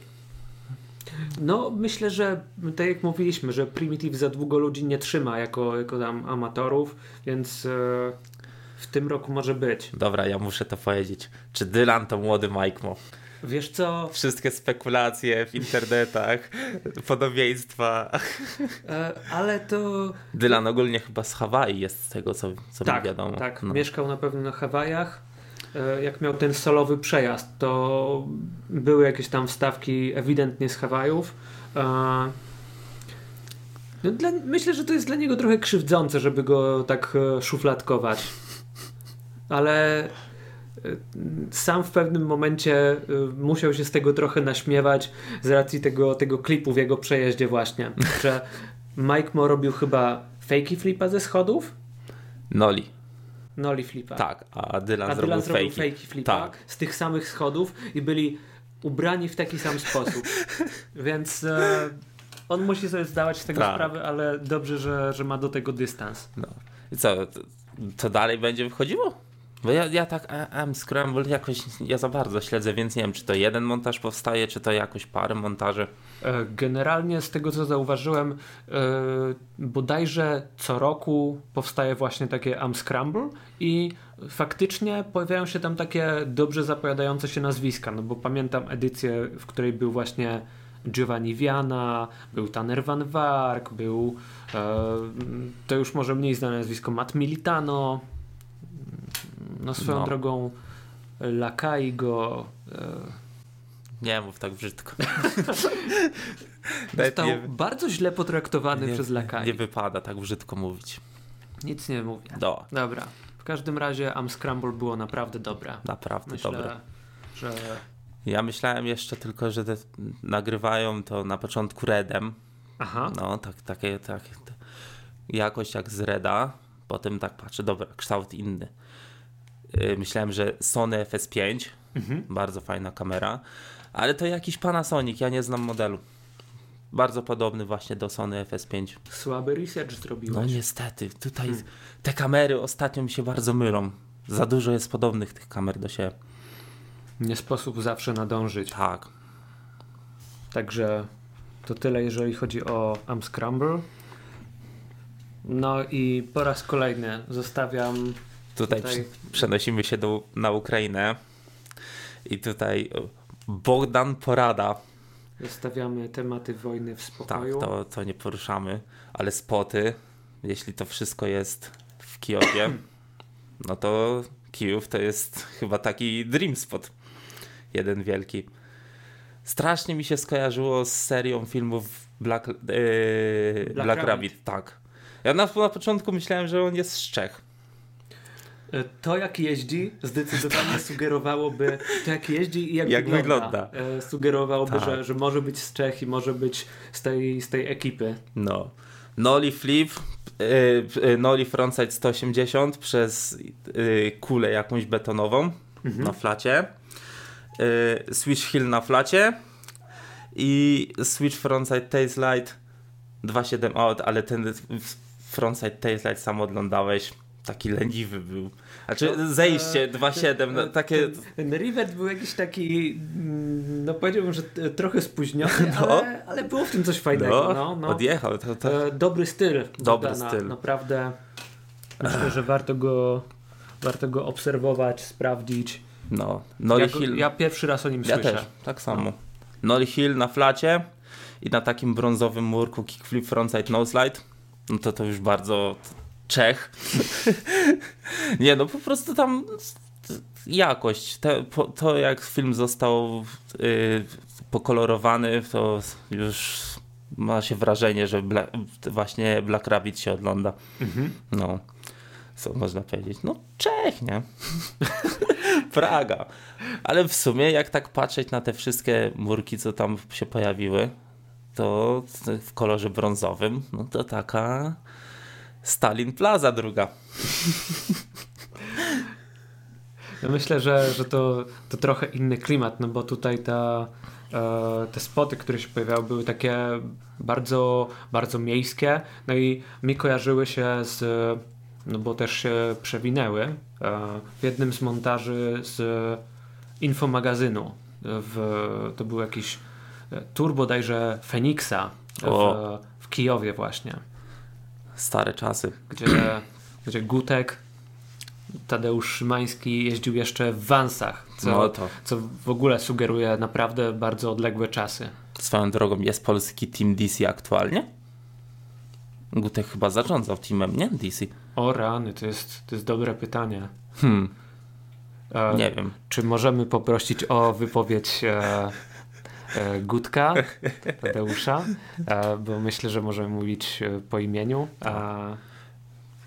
[SPEAKER 2] No, myślę, że tak jak mówiliśmy, że Primitive za długo ludzi nie trzyma jako, jako tam amatorów, więc e, w tym roku może być.
[SPEAKER 1] Dobra, ja muszę to powiedzieć. Czy Dylan to młody Mike Mo?
[SPEAKER 2] Wiesz co?
[SPEAKER 1] Wszystkie spekulacje w internetach, podobieństwa.
[SPEAKER 2] E, ale to.
[SPEAKER 1] Dylan ogólnie chyba z Hawaii jest z tego, co, co
[SPEAKER 2] tak,
[SPEAKER 1] mi wiadomo.
[SPEAKER 2] tak.
[SPEAKER 1] No.
[SPEAKER 2] Mieszkał na pewno na Hawajach. E, jak miał ten solowy przejazd, to były jakieś tam wstawki ewidentnie z Hawajów. E, no dla, myślę, że to jest dla niego trochę krzywdzące, żeby go tak e, szufladkować. ale e, sam w pewnym momencie e, musiał się z tego trochę naśmiewać z racji tego, tego klipu w jego przejeździe właśnie, że Mike Mo robił chyba fakey flipa ze schodów,
[SPEAKER 1] Noli,
[SPEAKER 2] noli flipa.
[SPEAKER 1] tak, a Dylan
[SPEAKER 2] A
[SPEAKER 1] zrobił
[SPEAKER 2] Dylan zrobił
[SPEAKER 1] fejki.
[SPEAKER 2] fakey flipa
[SPEAKER 1] Tak.
[SPEAKER 2] z tych samych schodów i byli ubrani w taki sam sposób. Więc e, on musi sobie zdawać z tego
[SPEAKER 1] Tak.
[SPEAKER 2] sprawę, ale dobrze, że, że ma do tego dystans.
[SPEAKER 1] No. I co, to, to dalej będzie wychodziło? Bo ja, ja tak a- am scramble jakoś ja za bardzo śledzę, więc nie wiem, czy to jeden montaż powstaje, czy to jakoś parę montaży.
[SPEAKER 2] E, Generalnie z tego co zauważyłem, e, bodajże co roku powstaje właśnie takie Am Scramble i faktycznie pojawiają się tam takie dobrze zapowiadające się nazwiska, no bo pamiętam edycję, w której był właśnie Giovanni Viana, był Tanner Van Vark, był e, to już może mniej znane nazwisko Matt Militano, no swoją
[SPEAKER 1] No.
[SPEAKER 2] drogą Lakaigo, e,
[SPEAKER 1] Nie mów tak brzydko. Nawet
[SPEAKER 2] Został
[SPEAKER 1] nie-
[SPEAKER 2] bardzo źle potraktowany przez Lakai.
[SPEAKER 1] Nie wypada tak brzydko mówić.
[SPEAKER 2] Nic nie mówię.
[SPEAKER 1] No,
[SPEAKER 2] Dobra. W każdym razie Am Scramble było naprawdę dobre.
[SPEAKER 1] naprawdę
[SPEAKER 2] Myślę,
[SPEAKER 1] dobre.
[SPEAKER 2] że
[SPEAKER 1] Ja myślałem jeszcze tylko, że te, nagrywają to na początku Redem.
[SPEAKER 2] aha,
[SPEAKER 1] No, tak, takie, takie t- jakoś jak z Reda. Potem tak patrzę, dobra, kształt inny. Yy, Myślałem, że Sony FS5, bardzo fajna kamera, ale to jakiś Panasonic, ja nie znam modelu. Bardzo podobny właśnie do Sony FS5.
[SPEAKER 2] słaby research
[SPEAKER 1] No
[SPEAKER 2] zrobiłeś.
[SPEAKER 1] niestety, tutaj te kamery ostatnio mi się bardzo mylą. Za dużo jest podobnych tych kamer do siebie.
[SPEAKER 2] Nie sposób zawsze nadążyć.
[SPEAKER 1] Tak.
[SPEAKER 2] Także to tyle, jeżeli chodzi o Am Scramble. No i po raz kolejny zostawiam
[SPEAKER 1] Tutaj,
[SPEAKER 2] Tutaj-
[SPEAKER 1] przy- przenosimy się do, na Ukrainę i tutaj o, Bogdan Porada
[SPEAKER 2] Zostawiamy tematy wojny w
[SPEAKER 1] Tak,
[SPEAKER 2] spokoju.
[SPEAKER 1] to, to nie poruszamy, ale spoty, jeśli to wszystko jest w Kijowie, no to Kijów to jest chyba taki dream spot. Jeden wielki. Strasznie mi się skojarzyło z serią filmów Black, yy, Black, Rabbit.
[SPEAKER 2] Rabbit,
[SPEAKER 1] tak. Ja na, na początku myślałem, że on jest z Czech.
[SPEAKER 2] E, To jak jeździ zdecydowanie sugerowałoby, to jak jeździ i jak,
[SPEAKER 1] Tak. Jak
[SPEAKER 2] wygląda, e, sugerowałoby,
[SPEAKER 1] Tak.
[SPEAKER 2] że, że może być z Czech i może być z tej, z tej ekipy.
[SPEAKER 1] No. Noli Flip, yy, yy, Noli Frontside 180 przez yy, kulę jakąś betonową
[SPEAKER 2] Mhm.
[SPEAKER 1] na flacie. Yy, switch Hill na flacie i Switch Frontside Tail Slide 2.7 out, ale ten Frontside Tail Slide sam oglądałeś. Taki leniwy był. Znaczy
[SPEAKER 2] To,
[SPEAKER 1] zejście
[SPEAKER 2] e,
[SPEAKER 1] 2.7, no,
[SPEAKER 2] E,
[SPEAKER 1] takie...
[SPEAKER 2] Ten, ten Rivet był jakiś taki, mm, no powiedziałbym, że t- trochę spóźniony,
[SPEAKER 1] No.
[SPEAKER 2] ale, ale było w tym coś fajnego.
[SPEAKER 1] No,
[SPEAKER 2] No, no.
[SPEAKER 1] odjechał. To, to,
[SPEAKER 2] E, Dobry styl.
[SPEAKER 1] Dobry
[SPEAKER 2] Bogdana,
[SPEAKER 1] styl.
[SPEAKER 2] Naprawdę myślę, że warto go, warto go obserwować, sprawdzić.
[SPEAKER 1] no. Noli
[SPEAKER 2] ja, go-
[SPEAKER 1] Hill.
[SPEAKER 2] ja pierwszy raz o nim
[SPEAKER 1] Ja
[SPEAKER 2] słyszę. No.
[SPEAKER 1] też, tak samo. Nolly Hill na flacie i na takim brązowym murku kickflip frontside noslide. No to to już bardzo Czech. Nie, no po prostu tam jakość. Te, po, to jak film został y, pokolorowany, to już ma się wrażenie, że Bla, właśnie Black Rabbit się ogląda.
[SPEAKER 2] Mhm.
[SPEAKER 1] No, co można powiedzieć? No Czech, nie? Praga. Ale w sumie, jak tak patrzeć na te wszystkie murki, co tam się pojawiły, to w kolorze brązowym, no to taka Stalin Plaza druga.
[SPEAKER 2] Ja myślę, że, że to, to trochę inny klimat, no bo tutaj ta, e, te spoty, które się pojawiały, były takie bardzo, bardzo miejskie. No i mi kojarzyły się z, no bo też się przewinęły, e, w jednym z montaży z infomagazynu. W, to był jakiś e, tour bodajże Feniksa w,
[SPEAKER 1] O.
[SPEAKER 2] w Kijowie właśnie
[SPEAKER 1] Stare czasy.
[SPEAKER 2] gdzie, gdzie Gutek, Tadeusz Szymański jeździł jeszcze w Vansach, co,
[SPEAKER 1] No to.
[SPEAKER 2] co w ogóle sugeruje naprawdę bardzo odległe czasy.
[SPEAKER 1] Swoją drogą jest polski team DC aktualnie? Gutek chyba zarządzał teamem, nie? DC.
[SPEAKER 2] O rany, to jest, to jest dobre pytanie.
[SPEAKER 1] Hmm,
[SPEAKER 2] E,
[SPEAKER 1] nie wiem.
[SPEAKER 2] Czy możemy poprosić o wypowiedź e, e, Gutka, Tadeusza, e, bo myślę, że możemy mówić e, po imieniu. E,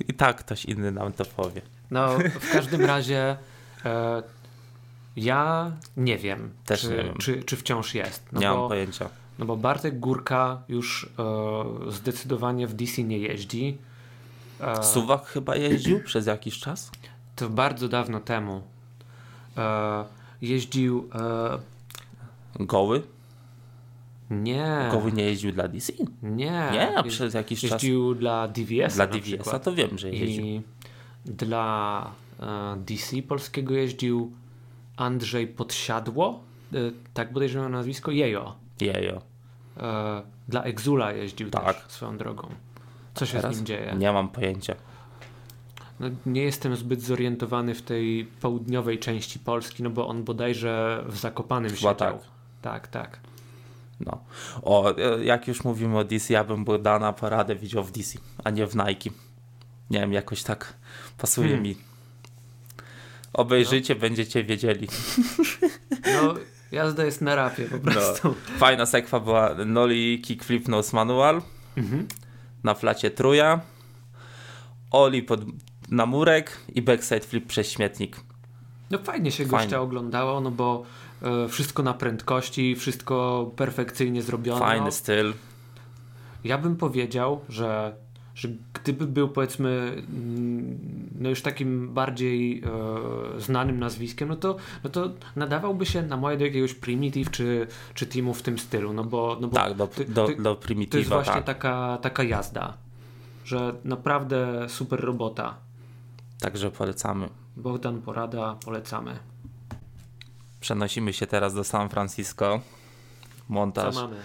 [SPEAKER 1] I tak ktoś inny nam to powie.
[SPEAKER 2] No, w każdym razie e, ja nie wiem,
[SPEAKER 1] Też
[SPEAKER 2] czy,
[SPEAKER 1] nie wiem.
[SPEAKER 2] Czy, czy wciąż jest. No
[SPEAKER 1] nie
[SPEAKER 2] bo,
[SPEAKER 1] mam pojęcia.
[SPEAKER 2] no bo Bartek Górka już e, zdecydowanie w DC nie jeździ. E,
[SPEAKER 1] Suwak chyba jeździł przez jakiś czas?
[SPEAKER 2] to bardzo dawno temu. E, jeździł. E,
[SPEAKER 1] Goły?
[SPEAKER 2] nie.
[SPEAKER 1] Goły nie jeździł dla DC?
[SPEAKER 2] Nie.
[SPEAKER 1] Nie, a
[SPEAKER 2] Jeź-
[SPEAKER 1] przez jakiś czas
[SPEAKER 2] Jeździł dla DVS.
[SPEAKER 1] dla DVS-a to wiem, że jeździł.
[SPEAKER 2] I dla e, DC polskiego jeździł Andrzej Podsiadło, e, tak bodajże miał nazwisko, Jejo.
[SPEAKER 1] Jejo.
[SPEAKER 2] E, Dla Exula jeździł
[SPEAKER 1] Tak.
[SPEAKER 2] też swoją drogą. Co się
[SPEAKER 1] Teraz?
[SPEAKER 2] z nim dzieje?
[SPEAKER 1] Nie mam pojęcia.
[SPEAKER 2] No, nie jestem zbyt zorientowany w tej południowej części Polski, no bo on bodajże w Zakopanym
[SPEAKER 1] Chyba
[SPEAKER 2] siedział.
[SPEAKER 1] tak.
[SPEAKER 2] tak, tak.
[SPEAKER 1] No. O, e, jak już mówimy o DC, ja bym Bogdana paradę widział w DC, a nie w Nike. Nie wiem, jakoś tak pasuje
[SPEAKER 2] Hmm.
[SPEAKER 1] mi. Obejrzyjcie, będziecie wiedzieli.
[SPEAKER 2] No, jazda jest na rapie
[SPEAKER 1] No.
[SPEAKER 2] po prostu.
[SPEAKER 1] Fajna sekwa była Noli Kickflip Nose Manual
[SPEAKER 2] Mhm.
[SPEAKER 1] na flacie truja, Oli pod, na murek i backside flip przez śmietnik.
[SPEAKER 2] No fajnie się
[SPEAKER 1] Fajnie.
[SPEAKER 2] gościa oglądało, no bo e, wszystko na prędkości, wszystko perfekcyjnie zrobione. No,
[SPEAKER 1] Fajny styl.
[SPEAKER 2] Ja bym powiedział, że, że gdyby był powiedzmy mm, no już takim bardziej e, znanym nazwiskiem, no to, no to nadawałby się na moje do jakiegoś Primitive czy, czy teamu w tym stylu, no bo, no bo
[SPEAKER 1] Tak, do,
[SPEAKER 2] ty-
[SPEAKER 1] do,
[SPEAKER 2] ty-
[SPEAKER 1] do
[SPEAKER 2] to jest
[SPEAKER 1] Primitiva,
[SPEAKER 2] właśnie
[SPEAKER 1] tak.
[SPEAKER 2] taka, taka jazda, że naprawdę super robota.
[SPEAKER 1] Także polecamy.
[SPEAKER 2] Bogdan Porada, polecamy.
[SPEAKER 1] Przenosimy się teraz do San Francisco.
[SPEAKER 2] Co
[SPEAKER 1] Montaż.
[SPEAKER 2] mamy?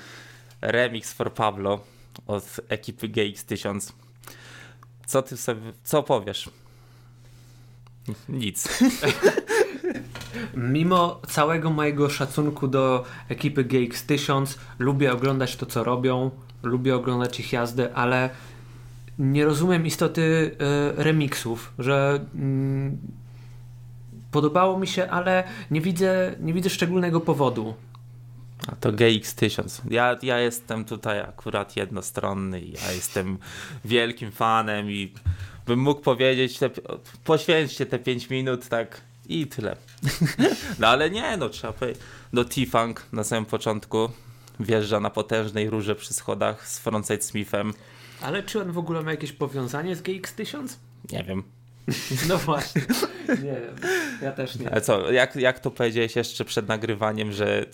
[SPEAKER 1] Remix for Pablo od ekipy GX1000. Co ty sobie, co powiesz? Nic.
[SPEAKER 2] Mimo całego mojego szacunku do ekipy GX1000, lubię oglądać to, co robią, lubię oglądać ich jazdy, ale nie rozumiem istoty y, remixów, że mm, podobało mi się, ale nie widzę, nie widzę szczególnego powodu.
[SPEAKER 1] A to GX1000. Ja, ja jestem tutaj akurat jednostronny, i ja jestem wielkim fanem i bym mógł powiedzieć, te, poświęćcie te 5 minut, tak i tyle. No ale nie, no trzeba powiedzieć. No T-Funk na samym początku wjeżdża na potężnej rurze przy schodach z Frontside Smithem.
[SPEAKER 2] Ale czy on w ogóle ma jakieś powiązanie z GX1000?
[SPEAKER 1] Nie wiem.
[SPEAKER 2] No właśnie, nie wiem, ja też nie.
[SPEAKER 1] A co, jak, jak to powiedziałeś jeszcze przed nagrywaniem, że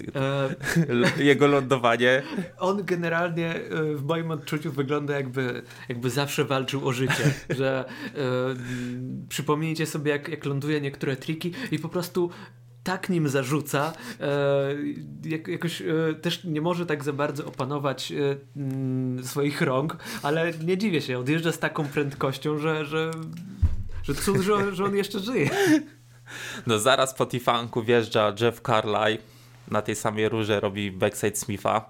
[SPEAKER 2] E,
[SPEAKER 1] jego lądowanie
[SPEAKER 2] On generalnie e, w moim odczuciu wygląda jakby, jakby zawsze walczył o życie, że e, m, przypomnijcie sobie jak, jak ląduje niektóre triki i po prostu tak nim zarzuca, e, jak, jakoś e, też nie może tak za bardzo opanować e, m, swoich rąk, ale nie dziwię się, odjeżdża z taką prędkością, że, że, że cud, że, że on jeszcze żyje.
[SPEAKER 1] No zaraz po Tifanku wjeżdża Jeff Carly na tej samej rurze robi backside Smitha.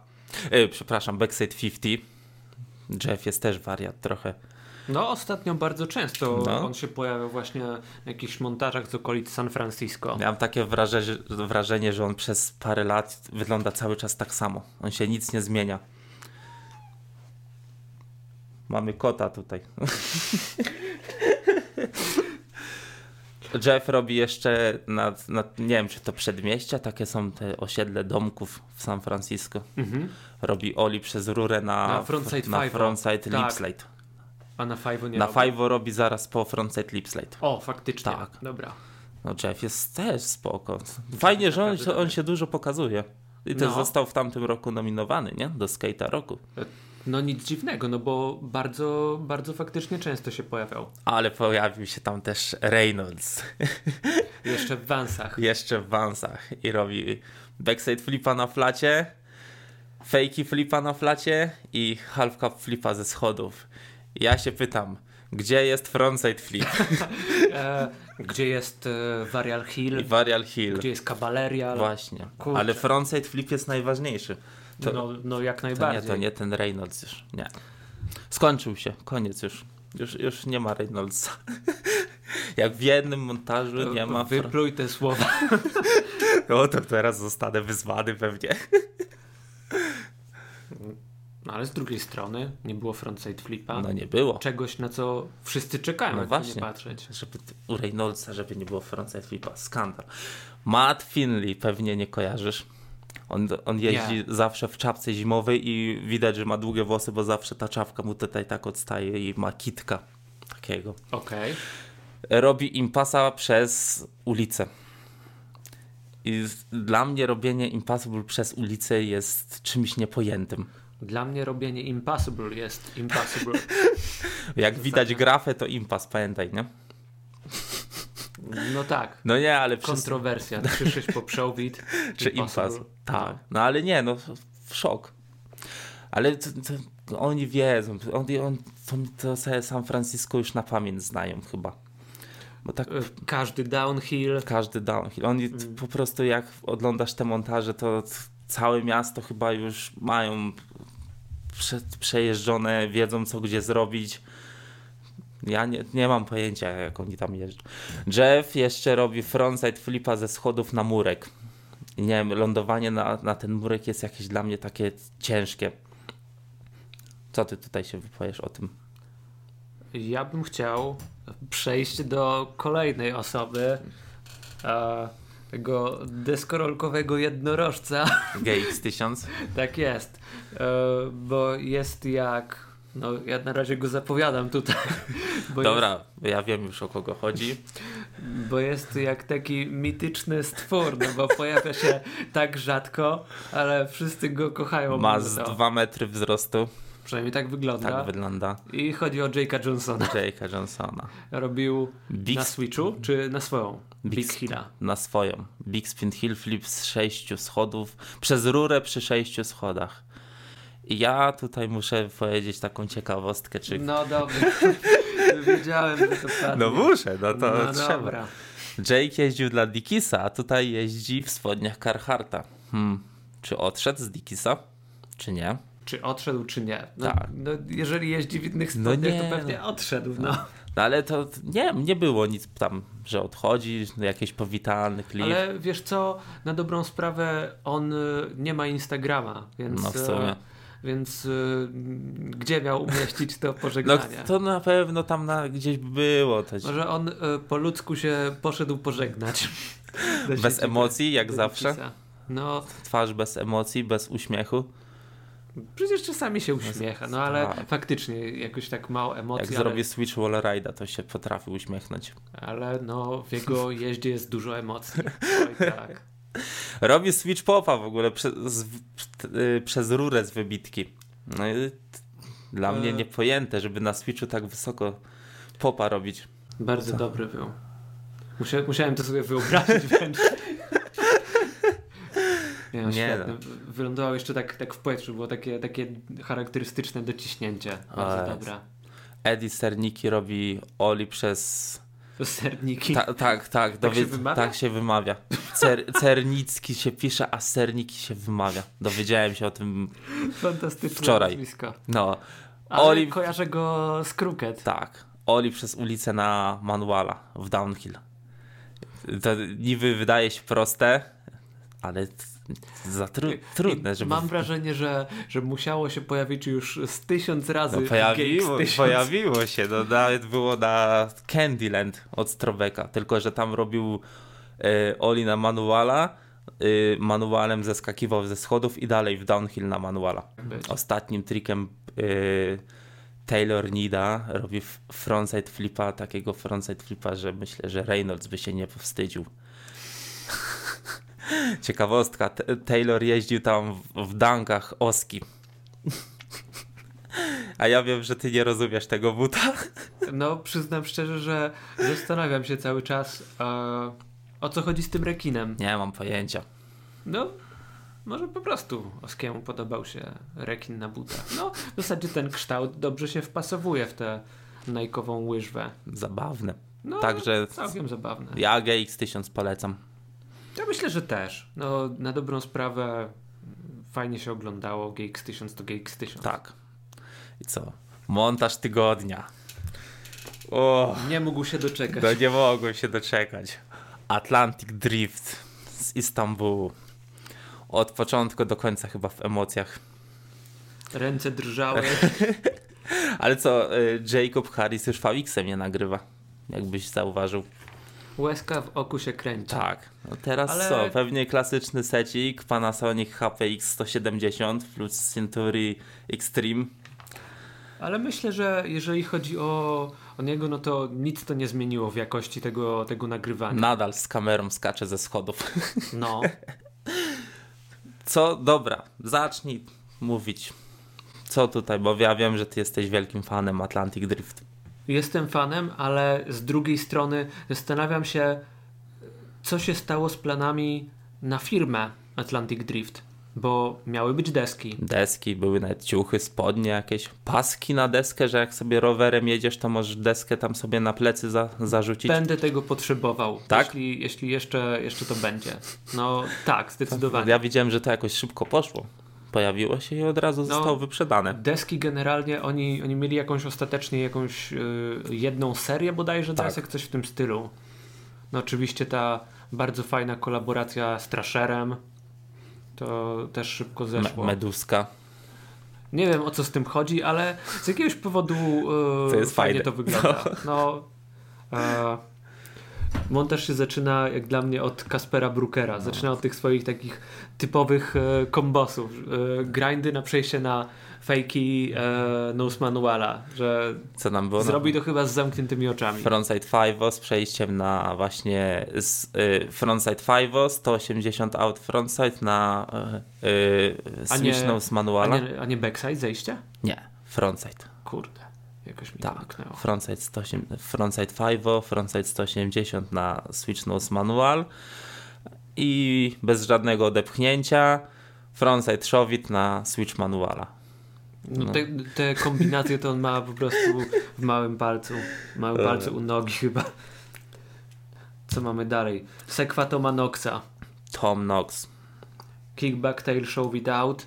[SPEAKER 1] E, przepraszam, backside 50. Jeff jest też wariat trochę.
[SPEAKER 2] No ostatnio bardzo często
[SPEAKER 1] No.
[SPEAKER 2] on się pojawia właśnie w jakichś montażach z okolic San Francisco.
[SPEAKER 1] Miałem takie wrażenie, wrażenie, że on przez parę lat wygląda cały czas tak samo. On się nic nie zmienia. Mamy kota tutaj. Jeff robi jeszcze, na, na, nie wiem czy to przedmieścia, takie są te osiedle domków w San Francisco. Robi Oli przez rurę na,
[SPEAKER 2] Mhm. Na frontside
[SPEAKER 1] na
[SPEAKER 2] five'a.
[SPEAKER 1] frontside
[SPEAKER 2] Tak.
[SPEAKER 1] lipslide.
[SPEAKER 2] A na Five nie
[SPEAKER 1] Na
[SPEAKER 2] robi.
[SPEAKER 1] Five robi zaraz po frontside lipslide.
[SPEAKER 2] O, faktycznie.
[SPEAKER 1] Tak.
[SPEAKER 2] Dobra.
[SPEAKER 1] No Jeff jest też spoko. Fajnie, że on,
[SPEAKER 2] naprawdę
[SPEAKER 1] on się dużo pokazuje. I też
[SPEAKER 2] No.
[SPEAKER 1] został w tamtym roku nominowany, nie? Do skate'a roku.
[SPEAKER 2] No nic dziwnego, no bo bardzo, bardzo faktycznie często się pojawiał.
[SPEAKER 1] Ale pojawił się tam też Reynolds.
[SPEAKER 2] Jeszcze w Vansach.
[SPEAKER 1] Jeszcze w Vansach. I robi backside flipa na flacie, fakey flipa na flacie i half cup flipa ze schodów. Ja się pytam, gdzie jest frontside flip
[SPEAKER 2] E, gdzie jest e, Varial
[SPEAKER 1] i
[SPEAKER 2] Hill,
[SPEAKER 1] varial hill?
[SPEAKER 2] gdzie jest Kabaleria.
[SPEAKER 1] Właśnie.
[SPEAKER 2] Kurczę.
[SPEAKER 1] Ale frontside flip jest najważniejszy. to-
[SPEAKER 2] no, no jak
[SPEAKER 1] To nie,
[SPEAKER 2] najbardziej.
[SPEAKER 1] to nie ten Reynolds już. Nie. Skończył się, koniec już. Już, już nie ma Reynoldsa. Jak w jednym montażu nie ma. Fr-
[SPEAKER 2] Wypluj te słowa.
[SPEAKER 1] o, to teraz zostanę wyzwany pewnie.
[SPEAKER 2] No ale z drugiej strony nie było frontside flipa.
[SPEAKER 1] No nie było.
[SPEAKER 2] Czegoś, na co wszyscy czekają,
[SPEAKER 1] No
[SPEAKER 2] jakby
[SPEAKER 1] właśnie.
[SPEAKER 2] nie patrzeć.
[SPEAKER 1] Żeby t- u Reynoldsa, żeby nie było frontside flipa. Skandal. Matt Finley pewnie nie kojarzysz. On, on jeździ
[SPEAKER 2] Nie.
[SPEAKER 1] zawsze w czapce zimowej i widać, że ma długie włosy, bo zawsze ta czapka mu tutaj tak odstaje i ma kitka takiego.
[SPEAKER 2] Okej.
[SPEAKER 1] robi impasa przez ulicę. I z- dla mnie robienie impasu przez ulicę jest czymś niepojętym.
[SPEAKER 2] Dla mnie robienie impossible jest impossible.
[SPEAKER 1] Jak widać grafę, to impas, pamiętaj, nie?
[SPEAKER 2] No tak.
[SPEAKER 1] No nie, ale przez,
[SPEAKER 2] Kontrowersja. 3-6 po przełwit.
[SPEAKER 1] czy impas. Tak. No ale nie, no w szok. Ale to, to oni wiedzą, on, on, to, to sobie San Francisco już na pamięć znają chyba. Bo tak
[SPEAKER 2] Y, Każdy downhill.
[SPEAKER 1] każdy downhill. Oni t- po prostu jak oglądasz te montaże, to t- całe miasto chyba już mają prze, przejeżdżone, wiedzą co gdzie zrobić. Ja nie, nie mam pojęcia, jak oni tam jeżdżą. Jeff jeszcze robi frontside flipa ze schodów na murek. I nie wiem, lądowanie na, na ten murek jest jakieś dla mnie takie ciężkie. Co ty tutaj się wypowiesz o tym?
[SPEAKER 2] Ja bym chciał przejść do kolejnej osoby. E, tego deskorolkowego jednorożca.
[SPEAKER 1] GX1000?
[SPEAKER 2] tak jest. E, bo jest jak. No, ja na razie go zapowiadam tutaj. Bo
[SPEAKER 1] Dobra, ja wiem już o kogo chodzi.
[SPEAKER 2] Bo jest jak taki mityczny stwór, no bo pojawia się tak rzadko, ale wszyscy go kochają.
[SPEAKER 1] Ma
[SPEAKER 2] mimo
[SPEAKER 1] z
[SPEAKER 2] to.
[SPEAKER 1] 2 metry wzrostu.
[SPEAKER 2] Przynajmniej tak wygląda.
[SPEAKER 1] Tak wygląda.
[SPEAKER 2] I chodzi o Jake'a Johnsona.
[SPEAKER 1] Jake'a Johnsona.
[SPEAKER 2] Robił
[SPEAKER 1] Big
[SPEAKER 2] na
[SPEAKER 1] sp-
[SPEAKER 2] Switchu czy na swoją? Big,
[SPEAKER 1] Big
[SPEAKER 2] Hilla.
[SPEAKER 1] Na swoją. Big Spin Hill Flip z sześciu schodów. Przez rurę przy sześciu schodach. I ja tutaj muszę powiedzieć taką ciekawostkę, czy...
[SPEAKER 2] No dobrze. Wiedziałem, że to padnie.
[SPEAKER 1] muszę, no
[SPEAKER 2] No dobra.
[SPEAKER 1] Jake jeździł dla Dickisa, a tutaj jeździ w spodniach Carharta. Hmm. Czy odszedł z Dickisa, czy nie?
[SPEAKER 2] Czy odszedł, czy nie. No,
[SPEAKER 1] Tak.
[SPEAKER 2] no, jeżeli jeździ w innych
[SPEAKER 1] No
[SPEAKER 2] spodniach,
[SPEAKER 1] nie,
[SPEAKER 2] to pewnie odszedł. No.
[SPEAKER 1] No ale to nie, nie było nic tam, że odchodzi, jakieś powitalny klip.
[SPEAKER 2] Ale wiesz co, na dobrą sprawę on y, nie ma Instagrama, więc...
[SPEAKER 1] No w sumie.
[SPEAKER 2] e, Więc y, gdzie miał umieścić to
[SPEAKER 1] No
[SPEAKER 2] pożegnanie?
[SPEAKER 1] to na pewno tam na, gdzieś było. To,
[SPEAKER 2] Może on y, po ludzku się poszedł pożegnać. Do
[SPEAKER 1] bez
[SPEAKER 2] siedziby,
[SPEAKER 1] emocji, jak
[SPEAKER 2] do
[SPEAKER 1] zawsze.
[SPEAKER 2] Dickisa. No,
[SPEAKER 1] Twarz bez emocji, bez uśmiechu.
[SPEAKER 2] przecież czasami się uśmiecha, no ale
[SPEAKER 1] tak.
[SPEAKER 2] faktycznie jakoś tak mało
[SPEAKER 1] Jak
[SPEAKER 2] emocji, ale,
[SPEAKER 1] zrobię Switch Wall Ride'a, to się potrafi uśmiechnąć.
[SPEAKER 2] ale no w jego jeździe jest dużo emocji. Oj tak.
[SPEAKER 1] Robię Switch Popa w ogóle przez, z, y, przez rurę z wybitki. No i t- dla
[SPEAKER 2] E.
[SPEAKER 1] mnie niepojęte, żeby na Switchu tak wysoko popa robić.
[SPEAKER 2] Bardzo dobry był. Musia, musiałem to sobie wyobrazić wręcz. Nie, no,
[SPEAKER 1] Nie
[SPEAKER 2] świetne.
[SPEAKER 1] no.
[SPEAKER 2] W- Wylądował jeszcze tak, tak w powietrzu, było takie, takie charakterystyczne dociśnięcie. Bardzo
[SPEAKER 1] Ale-
[SPEAKER 2] dobra.
[SPEAKER 1] Eddie Serniki robi Oli przez...
[SPEAKER 2] To serniki.
[SPEAKER 1] Ta, tak, tak.
[SPEAKER 2] Tak się
[SPEAKER 1] dowie-
[SPEAKER 2] wymawia?
[SPEAKER 1] tak się wymawia. Cer, cernicki się pisze, a Serniki się wymawia. Dowiedziałem się o tym.
[SPEAKER 2] Fantastyczne
[SPEAKER 1] Wczoraj.
[SPEAKER 2] nazwisko.
[SPEAKER 1] No,
[SPEAKER 2] Ale
[SPEAKER 1] Oli-
[SPEAKER 2] kojarzę go z Kruket.
[SPEAKER 1] tak. Oli przez ulicę na Manuala w Downhill. To niby wydaje się proste, ale t- za tru, trudne,
[SPEAKER 2] I
[SPEAKER 1] żeby...
[SPEAKER 2] Mam wrażenie, że, że musiało się pojawić już z tysiąc razy.
[SPEAKER 1] No, pojawiło,
[SPEAKER 2] GX1000.
[SPEAKER 1] pojawiło się, no, nawet było na Candyland od Strobeka, tylko że tam robił e, Oli na manuala, e, manualem zeskakiwał ze schodów i dalej w downhill na manuala.
[SPEAKER 2] Być.
[SPEAKER 1] Ostatnim trikiem e, Taylor Nida robi f- frontside flipa, takiego frontside flipa, że myślę, że Reynolds by się nie powstydził. Ciekawostka, T- Taylor jeździł tam w, w dankach Oski. A ja wiem, że ty nie rozumiesz tego buta.
[SPEAKER 2] No, przyznam szczerze, że zastanawiam się cały czas, e, o co chodzi z tym rekinem.
[SPEAKER 1] Nie mam pojęcia.
[SPEAKER 2] No, może po prostu Oskiemu podobał się rekin na butach. No, w zasadzie ten kształt dobrze się wpasowuje w tę najkową łyżwę.
[SPEAKER 1] Zabawne.
[SPEAKER 2] No,
[SPEAKER 1] Także
[SPEAKER 2] całkiem zabawne.
[SPEAKER 1] ja GX1000 polecam.
[SPEAKER 2] Ja myślę, że też. No, na dobrą sprawę mm, fajnie się oglądało. GX1000 to GX1000.
[SPEAKER 1] Tak. I co? Montaż tygodnia. O,
[SPEAKER 2] Nie mógł się doczekać.
[SPEAKER 1] no nie mogłem się doczekać. Atlantic Drift z Istanbulu. Od początku do końca chyba w emocjach.
[SPEAKER 2] Ręce drżały.
[SPEAKER 1] Ale co, y, Jacob Harris już Fawiksem nie nagrywa. Jakbyś zauważył.
[SPEAKER 2] Łezka w oku się kręci.
[SPEAKER 1] Tak. No teraz
[SPEAKER 2] Ale-
[SPEAKER 1] co? Pewnie klasyczny secik Panasonic HPX 170 plus Century Extreme.
[SPEAKER 2] Ale myślę, że jeżeli chodzi o, o niego, no to nic to nie zmieniło w jakości tego, tego nagrywania.
[SPEAKER 1] Nadal z kamerą skacze ze schodów.
[SPEAKER 2] No.
[SPEAKER 1] Co? Dobra, zacznij mówić. Co tutaj, bo ja wiem, że ty jesteś wielkim fanem Atlantic Drift.
[SPEAKER 2] Jestem fanem, ale z drugiej strony zastanawiam się, co się stało z planami na firmę Atlantic Drift, bo miały być deski.
[SPEAKER 1] Deski, były nawet ciuchy, spodnie jakieś, paski na deskę, że jak sobie rowerem jedziesz, to możesz deskę tam sobie na plecy za, zarzucić.
[SPEAKER 2] Będę tego potrzebował,
[SPEAKER 1] Tak?
[SPEAKER 2] jeśli, jeśli jeszcze, jeszcze to będzie. No tak, zdecydowanie.
[SPEAKER 1] Ja widziałem, że to jakoś szybko poszło. Pojawiło się i od razu zostało wyprzedane.
[SPEAKER 2] Deski generalnie, oni, oni mieli jakąś ostatecznie jakąś y, jedną serię bodajże
[SPEAKER 1] Tak.
[SPEAKER 2] desek, coś w tym stylu. No oczywiście ta bardzo fajna kolaboracja z Trasherem, to też szybko
[SPEAKER 1] Me
[SPEAKER 2] zeszło.
[SPEAKER 1] meduska.
[SPEAKER 2] Nie wiem o co z tym chodzi, ale z jakiegoś powodu yy,
[SPEAKER 1] To jest
[SPEAKER 2] fajnie
[SPEAKER 1] fajne.
[SPEAKER 2] to wygląda. No. e, montaż się zaczyna jak dla mnie od Kaspera Brookera.
[SPEAKER 1] No.
[SPEAKER 2] Zaczyna od tych swoich takich typowych e, kombosów. E, grindy na przejście na fejki e, Nose Manuala, że
[SPEAKER 1] Co nam było?
[SPEAKER 2] zrobi to chyba z zamkniętymi oczami.
[SPEAKER 1] Frontside 5 z przejściem na właśnie z, y, Frontside 5 180 out Frontside na y, y,
[SPEAKER 2] A nie-
[SPEAKER 1] Switch z
[SPEAKER 2] A
[SPEAKER 1] manuala. Nie,
[SPEAKER 2] nie, a nie backside zejście?
[SPEAKER 1] Frontside.
[SPEAKER 2] Kurde, jakoś mi
[SPEAKER 1] Tak.
[SPEAKER 2] tak. zamknęło.
[SPEAKER 1] Frontside, 108, frontside 5, frontside 180 na Switch z manual i bez żadnego odepchnięcia frontside showit na Switch manuala.
[SPEAKER 2] No. Te, te kombinacje to on ma po prostu w małym palcu. W małym
[SPEAKER 1] Dobra.
[SPEAKER 2] palcu u nogi chyba. Co mamy dalej? Sekwatoma Noxa,
[SPEAKER 1] Tom Knox.
[SPEAKER 2] Kickback Tail Show Without,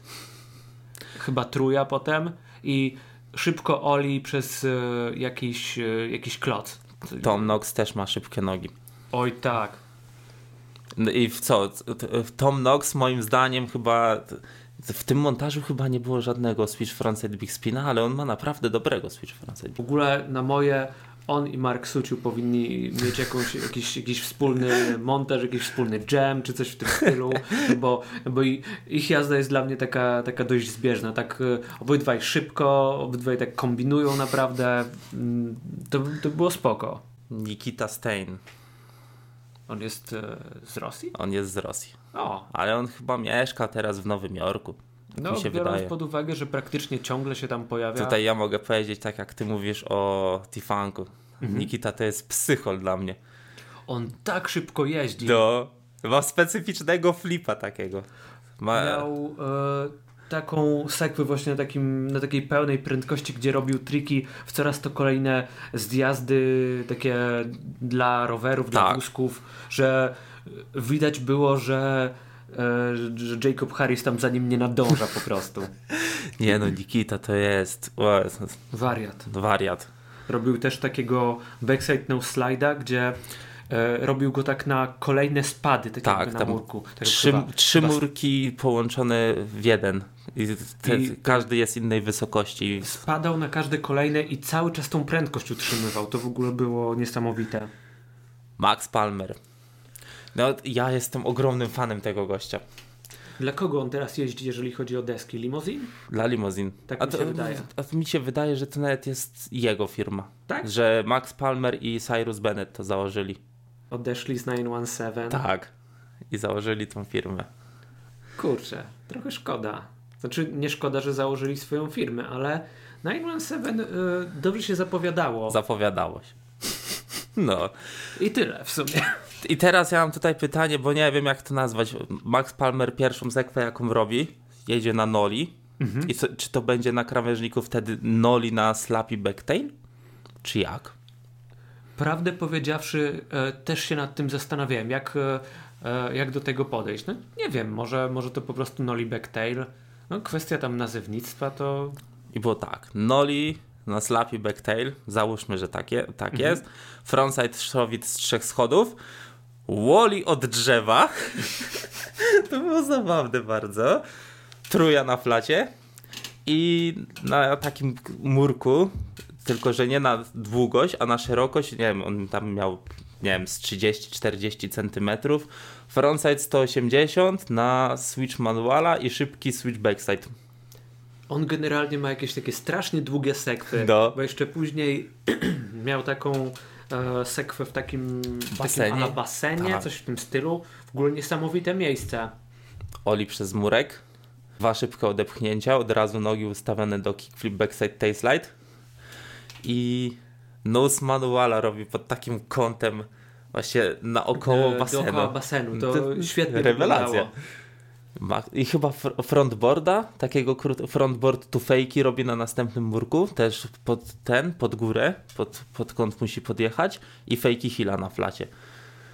[SPEAKER 2] chyba Truja potem i Szybko Oli przez e, jakiś, e, jakiś kloc.
[SPEAKER 1] Tom Knox też ma szybkie nogi.
[SPEAKER 2] Oj tak.
[SPEAKER 1] No I w co? Tom Knox moim zdaniem chyba w tym montażu chyba nie było żadnego Switch Frontside Big Spina, ale on ma naprawdę dobrego Switch Frontside.
[SPEAKER 2] W ogóle na moje on i Mark Suciu powinni mieć jakąś, jakiś, jakiś wspólny montaż, jakiś wspólny jam czy coś w tym stylu, bo, bo i- ich jazda jest dla mnie taka, taka dość zbieżna. Tak y, obydwaj szybko, obydwaj tak kombinują naprawdę. Mm, To, to było spoko.
[SPEAKER 1] Nikita Stein,
[SPEAKER 2] On jest e, z Rosji?
[SPEAKER 1] on jest z Rosji,
[SPEAKER 2] O,
[SPEAKER 1] ale on chyba mieszka teraz w Nowym Jorku. tak
[SPEAKER 2] no
[SPEAKER 1] mi się
[SPEAKER 2] biorąc
[SPEAKER 1] wydaje.
[SPEAKER 2] pod uwagę, że praktycznie ciągle się tam pojawia.
[SPEAKER 1] Tutaj ja mogę powiedzieć tak jak ty mówisz o Tifanku. Nikita to jest psychol dla mnie.
[SPEAKER 2] On tak szybko jeździ.
[SPEAKER 1] Do, ma specyficznego flipa takiego. Ma,
[SPEAKER 2] miał e, taką sekwę właśnie na, takim, na takiej pełnej prędkości, gdzie robił triki w coraz to kolejne zjazdy takie dla rowerów, dla
[SPEAKER 1] Tak.
[SPEAKER 2] wózków, że e, widać było, że, e, że Jacob Harris tam za nim nie nadąża po prostu.
[SPEAKER 1] Nie no, Nikita to jest o, jest
[SPEAKER 2] Wariat.
[SPEAKER 1] wariat.
[SPEAKER 2] Robił też takiego backside no slida, gdzie e, robił go tak na kolejne spady, tak,
[SPEAKER 1] Tak,
[SPEAKER 2] jakby na
[SPEAKER 1] tam
[SPEAKER 2] murku. Tak
[SPEAKER 1] Trzy,
[SPEAKER 2] chyba-
[SPEAKER 1] trzy
[SPEAKER 2] chyba
[SPEAKER 1] murki połączone w jeden. I te,
[SPEAKER 2] I-
[SPEAKER 1] każdy jest innej wysokości.
[SPEAKER 2] Spadał na każde kolejne i cały czas tą prędkość utrzymywał. To w ogóle było niesamowite.
[SPEAKER 1] Max Palmer. No, ja jestem ogromnym fanem tego gościa.
[SPEAKER 2] Dla kogo on teraz jeździ, jeżeli chodzi o deski? Limozin?
[SPEAKER 1] Dla limozin.
[SPEAKER 2] Tak mi się wydaje.
[SPEAKER 1] A to mi się wydaje, że to nawet jest jego firma.
[SPEAKER 2] Tak?
[SPEAKER 1] Że Max Palmer i Cyrus Bennett to założyli.
[SPEAKER 2] Odeszli z 917.
[SPEAKER 1] Tak. I założyli tą firmę.
[SPEAKER 2] Kurczę, trochę szkoda. Znaczy, nie szkoda, że założyli swoją firmę, ale 917 y, dobrze się zapowiadało.
[SPEAKER 1] Zapowiadało się. No.
[SPEAKER 2] I tyle w sumie.
[SPEAKER 1] I teraz ja mam tutaj pytanie, bo nie wiem jak to nazwać. Max Palmer pierwszą zekwę jaką robi, jedzie na noli. I co, czy to będzie na krawężniku wtedy noli na slappy backtail? Czy jak?
[SPEAKER 2] Prawdę powiedziawszy, e, też się nad tym zastanawiałem, jak, e, e, jak do tego podejść. No, nie wiem, może, może to po prostu Nolly Backtail. No, kwestia tam nazewnictwa to
[SPEAKER 1] I było tak, noli na slappy backtail, załóżmy, że tak, je, tak jest. Frontside szowit z trzech schodów. Woli od drzewa. to było zabawne bardzo. Truja na flacie. I na takim k- murku, tylko że nie na długość, a na szerokość, nie wiem, on tam miał, nie wiem, z 30-40 centymetrów. Frontside 180 na switch manuala i szybki switch backside.
[SPEAKER 2] On generalnie ma jakieś takie strasznie długie sekwy,
[SPEAKER 1] No.
[SPEAKER 2] bo jeszcze później miał taką e, sekwę w takim
[SPEAKER 1] Basenie.
[SPEAKER 2] takim ala basenie
[SPEAKER 1] Tak.
[SPEAKER 2] coś w tym stylu. W ogóle niesamowite miejsce.
[SPEAKER 1] Oli przez murek. Dwa szybkie odepchnięcia, od razu nogi ustawione do kickflip backside tail slide. I nose manuala robi pod takim kątem właśnie naokoło
[SPEAKER 2] E,
[SPEAKER 1] basenu.
[SPEAKER 2] Dookoła basenu. To, świetnie
[SPEAKER 1] Mm, Rewelacja.
[SPEAKER 2] wyglądało.
[SPEAKER 1] Ma- I chyba fr- frontboarda, takiego krót- frontboard to fake'i robi na następnym murku, też pod ten, pod górę, pod, pod kąt musi podjechać i fake'i hila na flacie.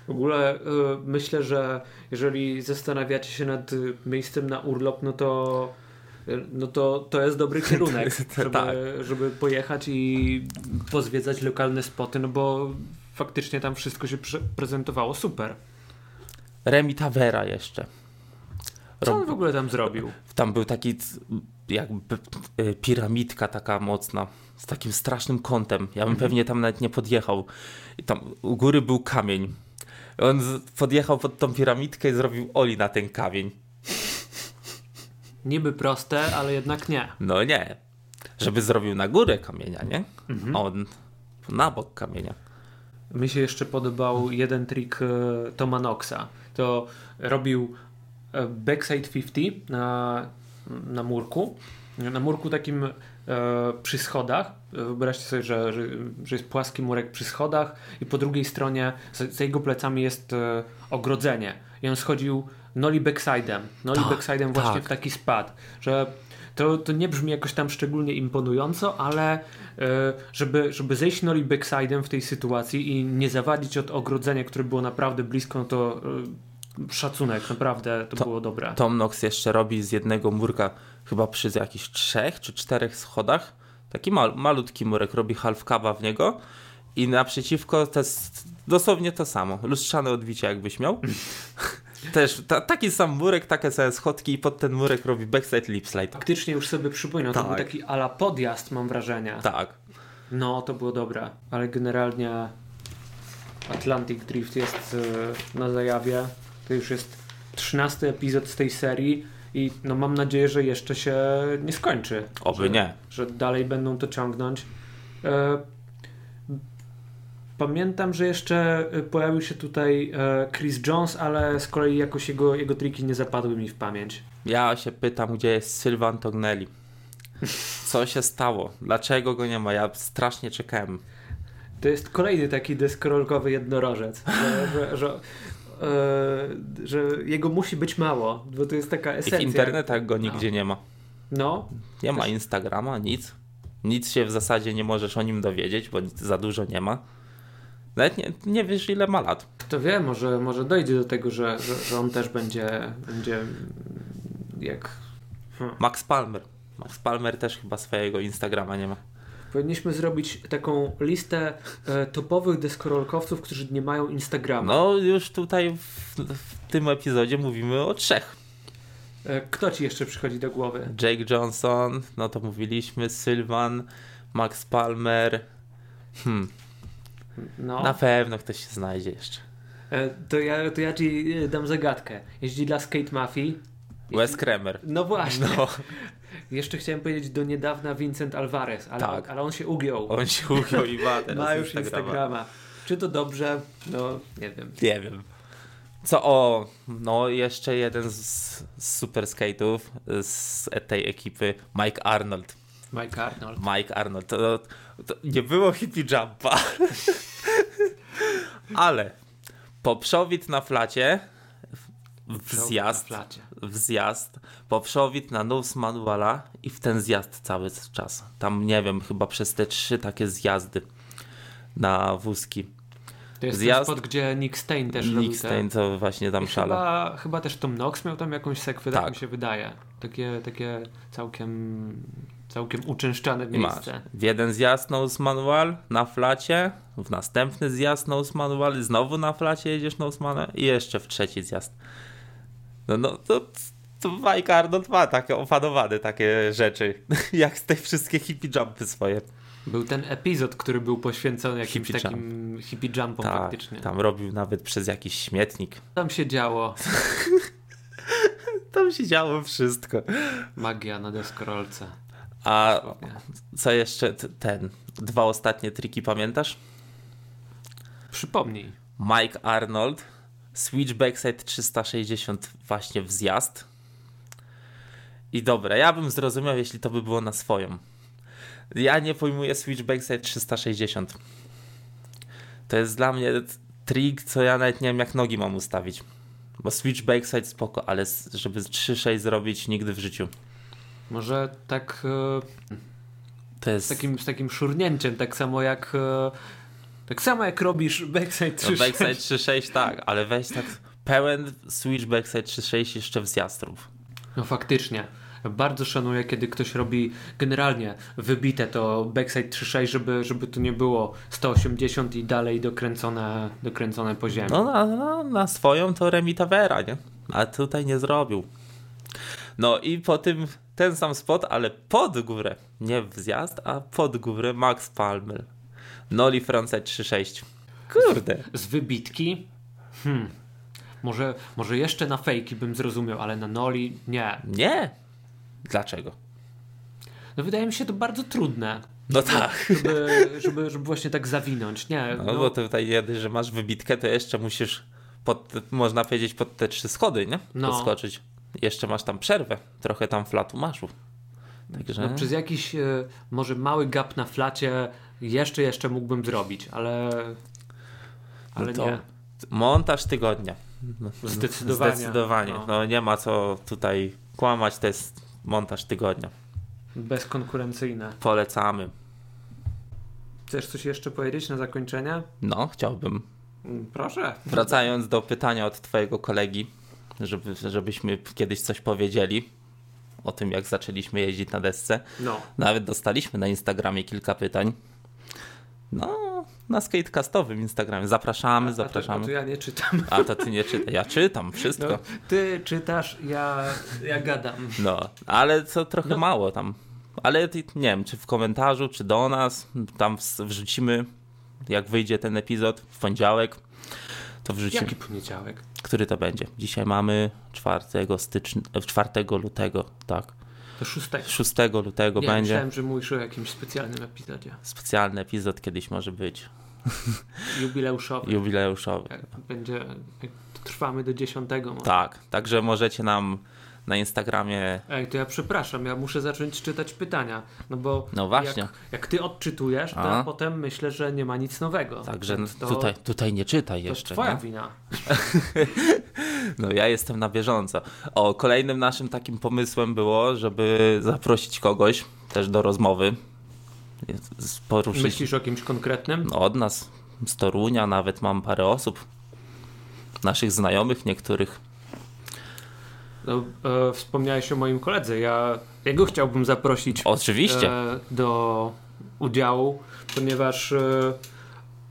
[SPEAKER 2] W ogóle e, myślę, że jeżeli zastanawiacie się nad e, miejscem na urlop, no to e, no to, to jest dobry kierunek, żeby,
[SPEAKER 1] Tak.
[SPEAKER 2] żeby pojechać i pozwiedzać lokalne spoty, no bo faktycznie tam wszystko się prze- prezentowało super.
[SPEAKER 1] Remi Tavera jeszcze.
[SPEAKER 2] Co
[SPEAKER 1] Rob-
[SPEAKER 2] on w ogóle tam zrobił?
[SPEAKER 1] Tam był taki c- jakby y, piramidka taka mocna, z takim strasznym kątem. Ja bym pewnie tam nawet nie podjechał. I tam u góry był kamień. On z- podjechał pod tą piramidkę i zrobił oli na ten kamień.
[SPEAKER 2] Niby proste, ale jednak nie.
[SPEAKER 1] No nie. Żeby zrobił na górę kamienia, nie? A on na bok kamienia.
[SPEAKER 2] Mi się jeszcze podobał jeden trik e, Toma Knoxa. To robił e, backside 50 na, na murku. Na murku takim e, przy schodach. E, Wyobraźcie sobie, że, że, że jest płaski murek przy schodach i po drugiej stronie z- za jego plecami jest e, ogrodzenie. I on schodził noli backside'em. Noli
[SPEAKER 1] Tak,
[SPEAKER 2] backside'em właśnie
[SPEAKER 1] tak.
[SPEAKER 2] w taki spad, że To, to nie brzmi jakoś tam szczególnie imponująco, ale e, żeby, żeby zejść Nori backside'em w tej sytuacji i nie zawadzić od ogrodzenia, które było naprawdę blisko, no to e, szacunek, naprawdę to,
[SPEAKER 1] To-
[SPEAKER 2] było dobre.
[SPEAKER 1] Tom Nox jeszcze robi z jednego murka, chyba przy jakichś trzech czy czterech schodach, taki mal, malutki murek, robi half kawa w niego i naprzeciwko to jest dosłownie to samo. Lustrzane odbicie jakbyś miał. Też ta, taki sam murek, takie same schodki i pod ten murek robi backside lip slide.
[SPEAKER 2] Faktycznie już sobie przypominam, to
[SPEAKER 1] Tak.
[SPEAKER 2] był taki ala podjazd, mam wrażenie.
[SPEAKER 1] Tak.
[SPEAKER 2] No, to było dobre, ale generalnie Atlantic Drift jest y, na zajawie. To już jest 13 epizod z tej serii i no mam nadzieję, że jeszcze się nie skończy.
[SPEAKER 1] Oby
[SPEAKER 2] że,
[SPEAKER 1] nie.
[SPEAKER 2] Że dalej będą to ciągnąć. E, Pamiętam, że jeszcze y, pojawił się tutaj e, Chris Jones, ale z kolei jakoś jego, jego triki nie zapadły mi w pamięć.
[SPEAKER 1] Ja się pytam, gdzie jest Sylvan Tognelli. Co się stało? Dlaczego go nie ma? Ja strasznie czekałem.
[SPEAKER 2] To jest kolejny taki deskorolkowy jednorożec, że, że, że, e, że jego musi być mało, bo to jest taka
[SPEAKER 1] I w
[SPEAKER 2] esencja.
[SPEAKER 1] internetach go
[SPEAKER 2] No.
[SPEAKER 1] nigdzie nie ma.
[SPEAKER 2] No,
[SPEAKER 1] Nie ma Instagrama, nic. Nic się w zasadzie nie możesz o nim dowiedzieć, bo nic- za dużo nie ma. Nawet nie, nie wiesz, ile ma lat.
[SPEAKER 2] kto wie, może, może dojdzie do tego, że, że, że on też będzie, będzie mm, jak... Hmm.
[SPEAKER 1] Max Palmer. Max Palmer też chyba swojego Instagrama nie ma.
[SPEAKER 2] Powinniśmy zrobić taką listę e, topowych deskorolkowców, którzy nie mają Instagrama.
[SPEAKER 1] No, już tutaj w, w tym epizodzie mówimy o trzech.
[SPEAKER 2] E, kto ci jeszcze przychodzi do głowy?
[SPEAKER 1] Jake Johnson, no to mówiliśmy, Sylvan, Max Palmer. Hmm,
[SPEAKER 2] No.
[SPEAKER 1] na pewno ktoś się znajdzie jeszcze.
[SPEAKER 2] E, to, ja, to ja ci e, dam zagadkę. Jeździ dla Skate Mafii.
[SPEAKER 1] Wes Kremer.
[SPEAKER 2] No właśnie.
[SPEAKER 1] No,
[SPEAKER 2] Jeszcze chciałem powiedzieć do niedawna Vincent Alvarez, ale,
[SPEAKER 1] Tak.
[SPEAKER 2] ale on się ugiął.
[SPEAKER 1] on się ugiął i ma teraz
[SPEAKER 2] Ma już Instagrama. Czy to dobrze? No, nie wiem.
[SPEAKER 1] Nie wiem. Co o, no jeszcze jeden z, z super skateów z tej ekipy, Mike Arnold.
[SPEAKER 2] Mike Arnold.
[SPEAKER 1] Mike Arnold, to, to nie było hippie jumpa, ale poprzowit na flacie, w zjazd,
[SPEAKER 2] Na flacie.
[SPEAKER 1] w zjazd, poprzowit na nów z manuala i w ten zjazd cały czas. Tam, nie wiem, chyba przez te trzy takie zjazdy na wózki.
[SPEAKER 2] To jest
[SPEAKER 1] Zjazd.
[SPEAKER 2] ten spot, gdzie Nick Stein też robił
[SPEAKER 1] Nick Stein, co właśnie tam
[SPEAKER 2] te...
[SPEAKER 1] szalał.
[SPEAKER 2] Chyba, chyba też Tom Knox miał tam jakąś sekwę, tak
[SPEAKER 1] Tak.
[SPEAKER 2] mi się wydaje. Takie, takie całkiem, całkiem uczęszczane
[SPEAKER 1] I masz.
[SPEAKER 2] miejsce.
[SPEAKER 1] W jeden zjazd nose manual na flacie, w następny zjazd nose manual, znowu na flacie jedziesz nose manual i jeszcze w trzeci zjazd. No, no to, to Mike Arnold ma takie opanowane takie rzeczy, jak te wszystkie hippie jumpy swoje.
[SPEAKER 2] Był ten epizod, który był poświęcony jakimś
[SPEAKER 1] Hippie jump.
[SPEAKER 2] takim hippie jumpom
[SPEAKER 1] Tak,
[SPEAKER 2] faktycznie.
[SPEAKER 1] tam robił nawet przez jakiś śmietnik.
[SPEAKER 2] Tam się działo
[SPEAKER 1] Tam się działo wszystko.
[SPEAKER 2] magia na deskorolce.
[SPEAKER 1] A
[SPEAKER 2] Dosłownie.
[SPEAKER 1] co jeszcze t- ten? Dwa ostatnie triki pamiętasz?
[SPEAKER 2] Przypomnij.
[SPEAKER 1] Mike Arnold, Switchback Set 360 właśnie w zjazd. I dobra, ja bym zrozumiał, jeśli to by było na swoją. Ja nie pojmuję Switchback Set 360. To jest dla mnie t- trik, co ja nawet nie wiem, jak nogi mam ustawić. Bo Switchback Set spoko, ale s- żeby 3-6 zrobić nigdy w życiu.
[SPEAKER 2] Może tak e,
[SPEAKER 1] To jest...
[SPEAKER 2] z takim, z takim szurnięciem, tak samo jak e, tak samo jak robisz backside 3
[SPEAKER 1] No, backside 3.6 tak, ale weź tak pełen switch backside 3.6 jeszcze w zjastrów.
[SPEAKER 2] No faktycznie. Bardzo szanuję, kiedy ktoś robi generalnie wybite to backside 3.6, żeby, żeby to nie było 180 i dalej dokręcone, dokręcone po ziemi.
[SPEAKER 1] No na, na, na swoją to Remi Tavera, nie? A tutaj nie zrobił. No i po tym ten sam spot, ale pod górę. Nie w zjazd, a pod górę Max Palmer. Noli Frontside 3.6. Kurde.
[SPEAKER 2] Z wybitki? Hmm. Może, może jeszcze na fejki bym zrozumiał, ale na noli nie.
[SPEAKER 1] Nie. Dlaczego?
[SPEAKER 2] No wydaje mi się to bardzo trudne,
[SPEAKER 1] No tak.
[SPEAKER 2] żeby, żeby, żeby właśnie tak zawinąć. Nie,
[SPEAKER 1] No bo tutaj jedynie, że masz wybitkę, to jeszcze musisz, pod, można powiedzieć, pod te trzy schody, nie?
[SPEAKER 2] No.
[SPEAKER 1] Podskoczyć. Jeszcze masz tam przerwę. Trochę tam flatu masz. Także...
[SPEAKER 2] No, przez jakiś e, może mały gap na flacie jeszcze, jeszcze mógłbym zrobić, ale, ale
[SPEAKER 1] No to
[SPEAKER 2] nie.
[SPEAKER 1] Montaż tygodnia. no,
[SPEAKER 2] Zdecydowanie.
[SPEAKER 1] Zdecydowanie. No.
[SPEAKER 2] No.
[SPEAKER 1] nie ma co tutaj kłamać, to jest montaż tygodnia.
[SPEAKER 2] Bezkonkurencyjne.
[SPEAKER 1] Polecamy.
[SPEAKER 2] Chcesz coś jeszcze powiedzieć na zakończenie?
[SPEAKER 1] No, chciałbym.
[SPEAKER 2] Mm, Proszę.
[SPEAKER 1] Wracając do pytania od twojego kolegi, żeby, żebyśmy kiedyś coś powiedzieli o tym, jak zaczęliśmy jeździć na desce.
[SPEAKER 2] No.
[SPEAKER 1] Nawet dostaliśmy na Instagramie kilka pytań. No, na skatecastowym Instagramie. Zapraszamy,
[SPEAKER 2] A to, a to
[SPEAKER 1] zapraszamy.
[SPEAKER 2] ja nie czytam.
[SPEAKER 1] A to ty nie czytaj. Ja czytam wszystko.
[SPEAKER 2] No, ty czytasz, ja, ja gadam.
[SPEAKER 1] No, ale co trochę mało tam. Ale ty- nie wiem, czy w komentarzu, czy do nas, tam ws- wrzucimy, jak wyjdzie ten epizod w poniedziałek, to wrzucimy.
[SPEAKER 2] Jaki poniedziałek?
[SPEAKER 1] Który to będzie? Dzisiaj mamy 4 stycznia, 4 lutego, tak.
[SPEAKER 2] To szóstego.
[SPEAKER 1] 6 lutego
[SPEAKER 2] Nie,
[SPEAKER 1] będzie.
[SPEAKER 2] myślałem, że mówisz o jakimś specjalnym epizodzie.
[SPEAKER 1] Specjalny epizod kiedyś może być,
[SPEAKER 2] Jubileuszowy.
[SPEAKER 1] jubileuszowy.
[SPEAKER 2] Jak Będzie, jak trwamy do dziesiątego może.
[SPEAKER 1] Tak, także możecie nam na Instagramie,
[SPEAKER 2] Ej, to ja przepraszam, ja muszę zacząć czytać pytania, no bo
[SPEAKER 1] No właśnie.
[SPEAKER 2] jak, jak ty odczytujesz, to
[SPEAKER 1] A.
[SPEAKER 2] ja potem myślę, że nie ma nic nowego.
[SPEAKER 1] także
[SPEAKER 2] Więc to,
[SPEAKER 1] tutaj, tutaj nie czytaj
[SPEAKER 2] to
[SPEAKER 1] jeszcze.
[SPEAKER 2] twoja
[SPEAKER 1] nie?
[SPEAKER 2] wina.
[SPEAKER 1] No ja jestem na bieżąco. O, kolejnym naszym takim pomysłem było, żeby zaprosić kogoś też do rozmowy. Z- Poruszyć
[SPEAKER 2] Myślisz o kimś konkretnym?
[SPEAKER 1] no, od nas, z Torunia nawet mam parę osób. Naszych znajomych niektórych.
[SPEAKER 2] No, e, wspomniałeś o moim koledze, ja jego chciałbym zaprosić
[SPEAKER 1] Oczywiście.
[SPEAKER 2] e, do udziału, ponieważ e,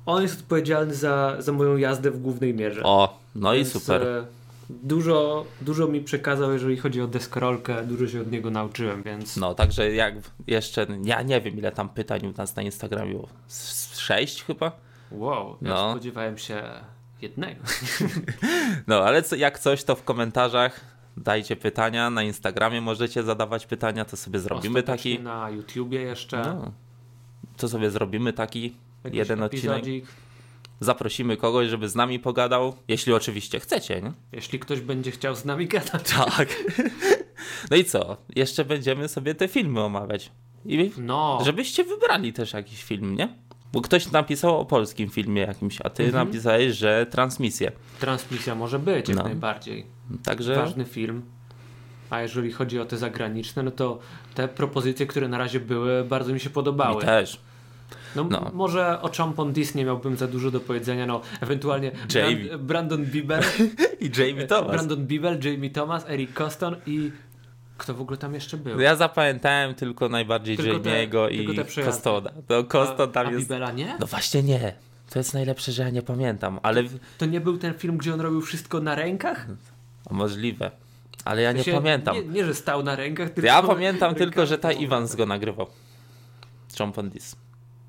[SPEAKER 2] on jest odpowiedzialny za, za moją jazdę w głównej mierze.
[SPEAKER 1] O, no i
[SPEAKER 2] Więc,
[SPEAKER 1] super.
[SPEAKER 2] e, Dużo, dużo mi przekazał, jeżeli chodzi o deskorolkę, dużo się od niego nauczyłem, więc
[SPEAKER 1] No, także jak jeszcze, ja nie wiem ile tam pytań u nas na Instagramie było. Z- z Sześć chyba?
[SPEAKER 2] wow, ja
[SPEAKER 1] No.
[SPEAKER 2] spodziewałem się jednego.
[SPEAKER 1] No, ale co, jak coś, to w komentarzach dajcie pytania. Na Instagramie możecie zadawać pytania, to sobie zrobimy
[SPEAKER 2] Ostatecznie
[SPEAKER 1] taki...
[SPEAKER 2] Na YouTubie jeszcze.
[SPEAKER 1] No. To sobie zrobimy taki
[SPEAKER 2] jakiś
[SPEAKER 1] jeden odcinek.
[SPEAKER 2] epizodzik.
[SPEAKER 1] Zaprosimy kogoś, żeby z nami pogadał, jeśli oczywiście chcecie, nie?
[SPEAKER 2] Jeśli ktoś będzie chciał z nami gadać.
[SPEAKER 1] Tak. No i co? Jeszcze będziemy sobie te filmy omawiać. I
[SPEAKER 2] No,
[SPEAKER 1] żebyście wybrali też jakiś film, nie? Bo ktoś napisał o polskim filmie jakimś, a ty
[SPEAKER 2] Mhm.
[SPEAKER 1] napisałeś, że transmisję.
[SPEAKER 2] transmisja może być jak
[SPEAKER 1] No.
[SPEAKER 2] najbardziej.
[SPEAKER 1] Także
[SPEAKER 2] Ważny film. A jeżeli chodzi o te zagraniczne, no to te propozycje, które na razie były, bardzo mi się
[SPEAKER 1] mi
[SPEAKER 2] podobały.
[SPEAKER 1] też.
[SPEAKER 2] No, m-
[SPEAKER 1] No.
[SPEAKER 2] Może o Champon Disney miałbym za dużo do powiedzenia, no ewentualnie
[SPEAKER 1] Jamie.
[SPEAKER 2] Brand, Brandon Bieber,
[SPEAKER 1] I Jamie Thomas.
[SPEAKER 2] Brandon Bieber, Jamie Thomas, Eric Coston i kto w ogóle tam jeszcze był?
[SPEAKER 1] Ja zapamiętałem tylko najbardziej
[SPEAKER 2] Tylko te-
[SPEAKER 1] Jamiego
[SPEAKER 2] tylko te
[SPEAKER 1] i
[SPEAKER 2] przejazdy.
[SPEAKER 1] Kostoda. To Koston tam
[SPEAKER 2] a,
[SPEAKER 1] jest...
[SPEAKER 2] A Biebera nie?
[SPEAKER 1] No właśnie nie. To jest najlepsze, że ja nie pamiętam, ale w-
[SPEAKER 2] To nie był ten film, gdzie on robił wszystko na rękach?
[SPEAKER 1] a No, możliwe. Ale ja nie
[SPEAKER 2] Się-
[SPEAKER 1] pamiętam.
[SPEAKER 2] Nie, nie, że stał na rękach, tylko...
[SPEAKER 1] Ja pamiętam tylko, że ta Iwans go nagrywał. Chompondis.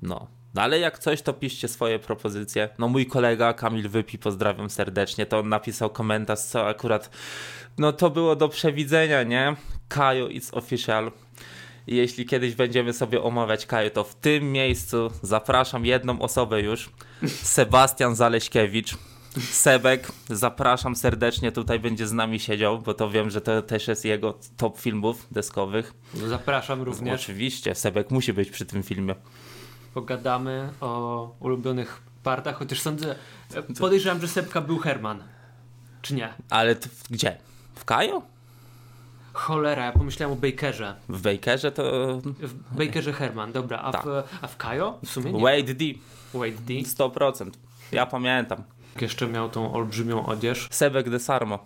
[SPEAKER 1] No. No ale jak coś, to piszcie swoje propozycje. No mój kolega Kamil Wypi, pozdrawiam serdecznie, to on napisał komentarz, co akurat, no to było do przewidzenia, nie? Kajo, it's official. I Jeśli kiedyś będziemy sobie omawiać Kajo, to w tym miejscu zapraszam jedną osobę już, Sebastian Zaleśkiewicz. Sebek, zapraszam serdecznie, tutaj będzie z nami siedział, bo to wiem, że to też jest jego top filmów deskowych.
[SPEAKER 2] No, Zapraszam również.
[SPEAKER 1] Oczywiście, Sebek musi być przy tym filmie.
[SPEAKER 2] Pogadamy o ulubionych partach, chociaż sądzę... Podejrzewam, że Sepka był Herman. Czy nie?
[SPEAKER 1] Ale to w, gdzie? W Kajo?
[SPEAKER 2] Cholera, ja pomyślałem o Bakerze.
[SPEAKER 1] W Bakerze to
[SPEAKER 2] W Bakerze Herman, dobra. A,
[SPEAKER 1] Tak.
[SPEAKER 2] w, a w Kajo? W sumie nie.
[SPEAKER 1] Wade D,
[SPEAKER 2] Wade D.
[SPEAKER 1] 100%. Ja pamiętam.
[SPEAKER 2] Jeszcze miał tą olbrzymią odzież.
[SPEAKER 1] Sebek de Sarmo.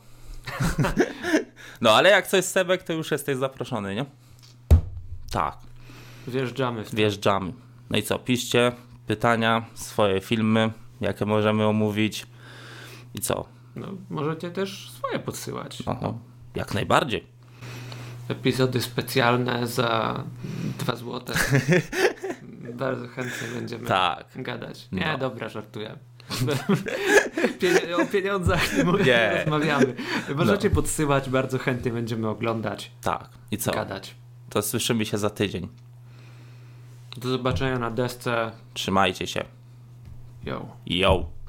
[SPEAKER 1] no ale jak coś Sebek, to już jesteś zaproszony, nie? Tak,
[SPEAKER 2] Wjeżdżamy w to.
[SPEAKER 1] wjeżdżamy. No i co, piszcie pytania, swoje filmy, jakie możemy omówić i co?
[SPEAKER 2] No, możecie też swoje podsyłać.
[SPEAKER 1] Aha, jak najbardziej.
[SPEAKER 2] Epizody specjalne za dwa złote. Bardzo chętnie będziemy
[SPEAKER 1] Tak.
[SPEAKER 2] gadać. Nie,
[SPEAKER 1] No.
[SPEAKER 2] dobra, żartuję. Pieni- o pieniądzach nie mówię,
[SPEAKER 1] Nie. No.
[SPEAKER 2] rozmawiamy. Możecie podsyłać, bardzo chętnie będziemy oglądać,
[SPEAKER 1] Tak. I co?
[SPEAKER 2] gadać.
[SPEAKER 1] To słyszymy się za tydzień.
[SPEAKER 2] Do zobaczenia na desce.
[SPEAKER 1] Trzymajcie się.
[SPEAKER 2] Yo.
[SPEAKER 1] Yo.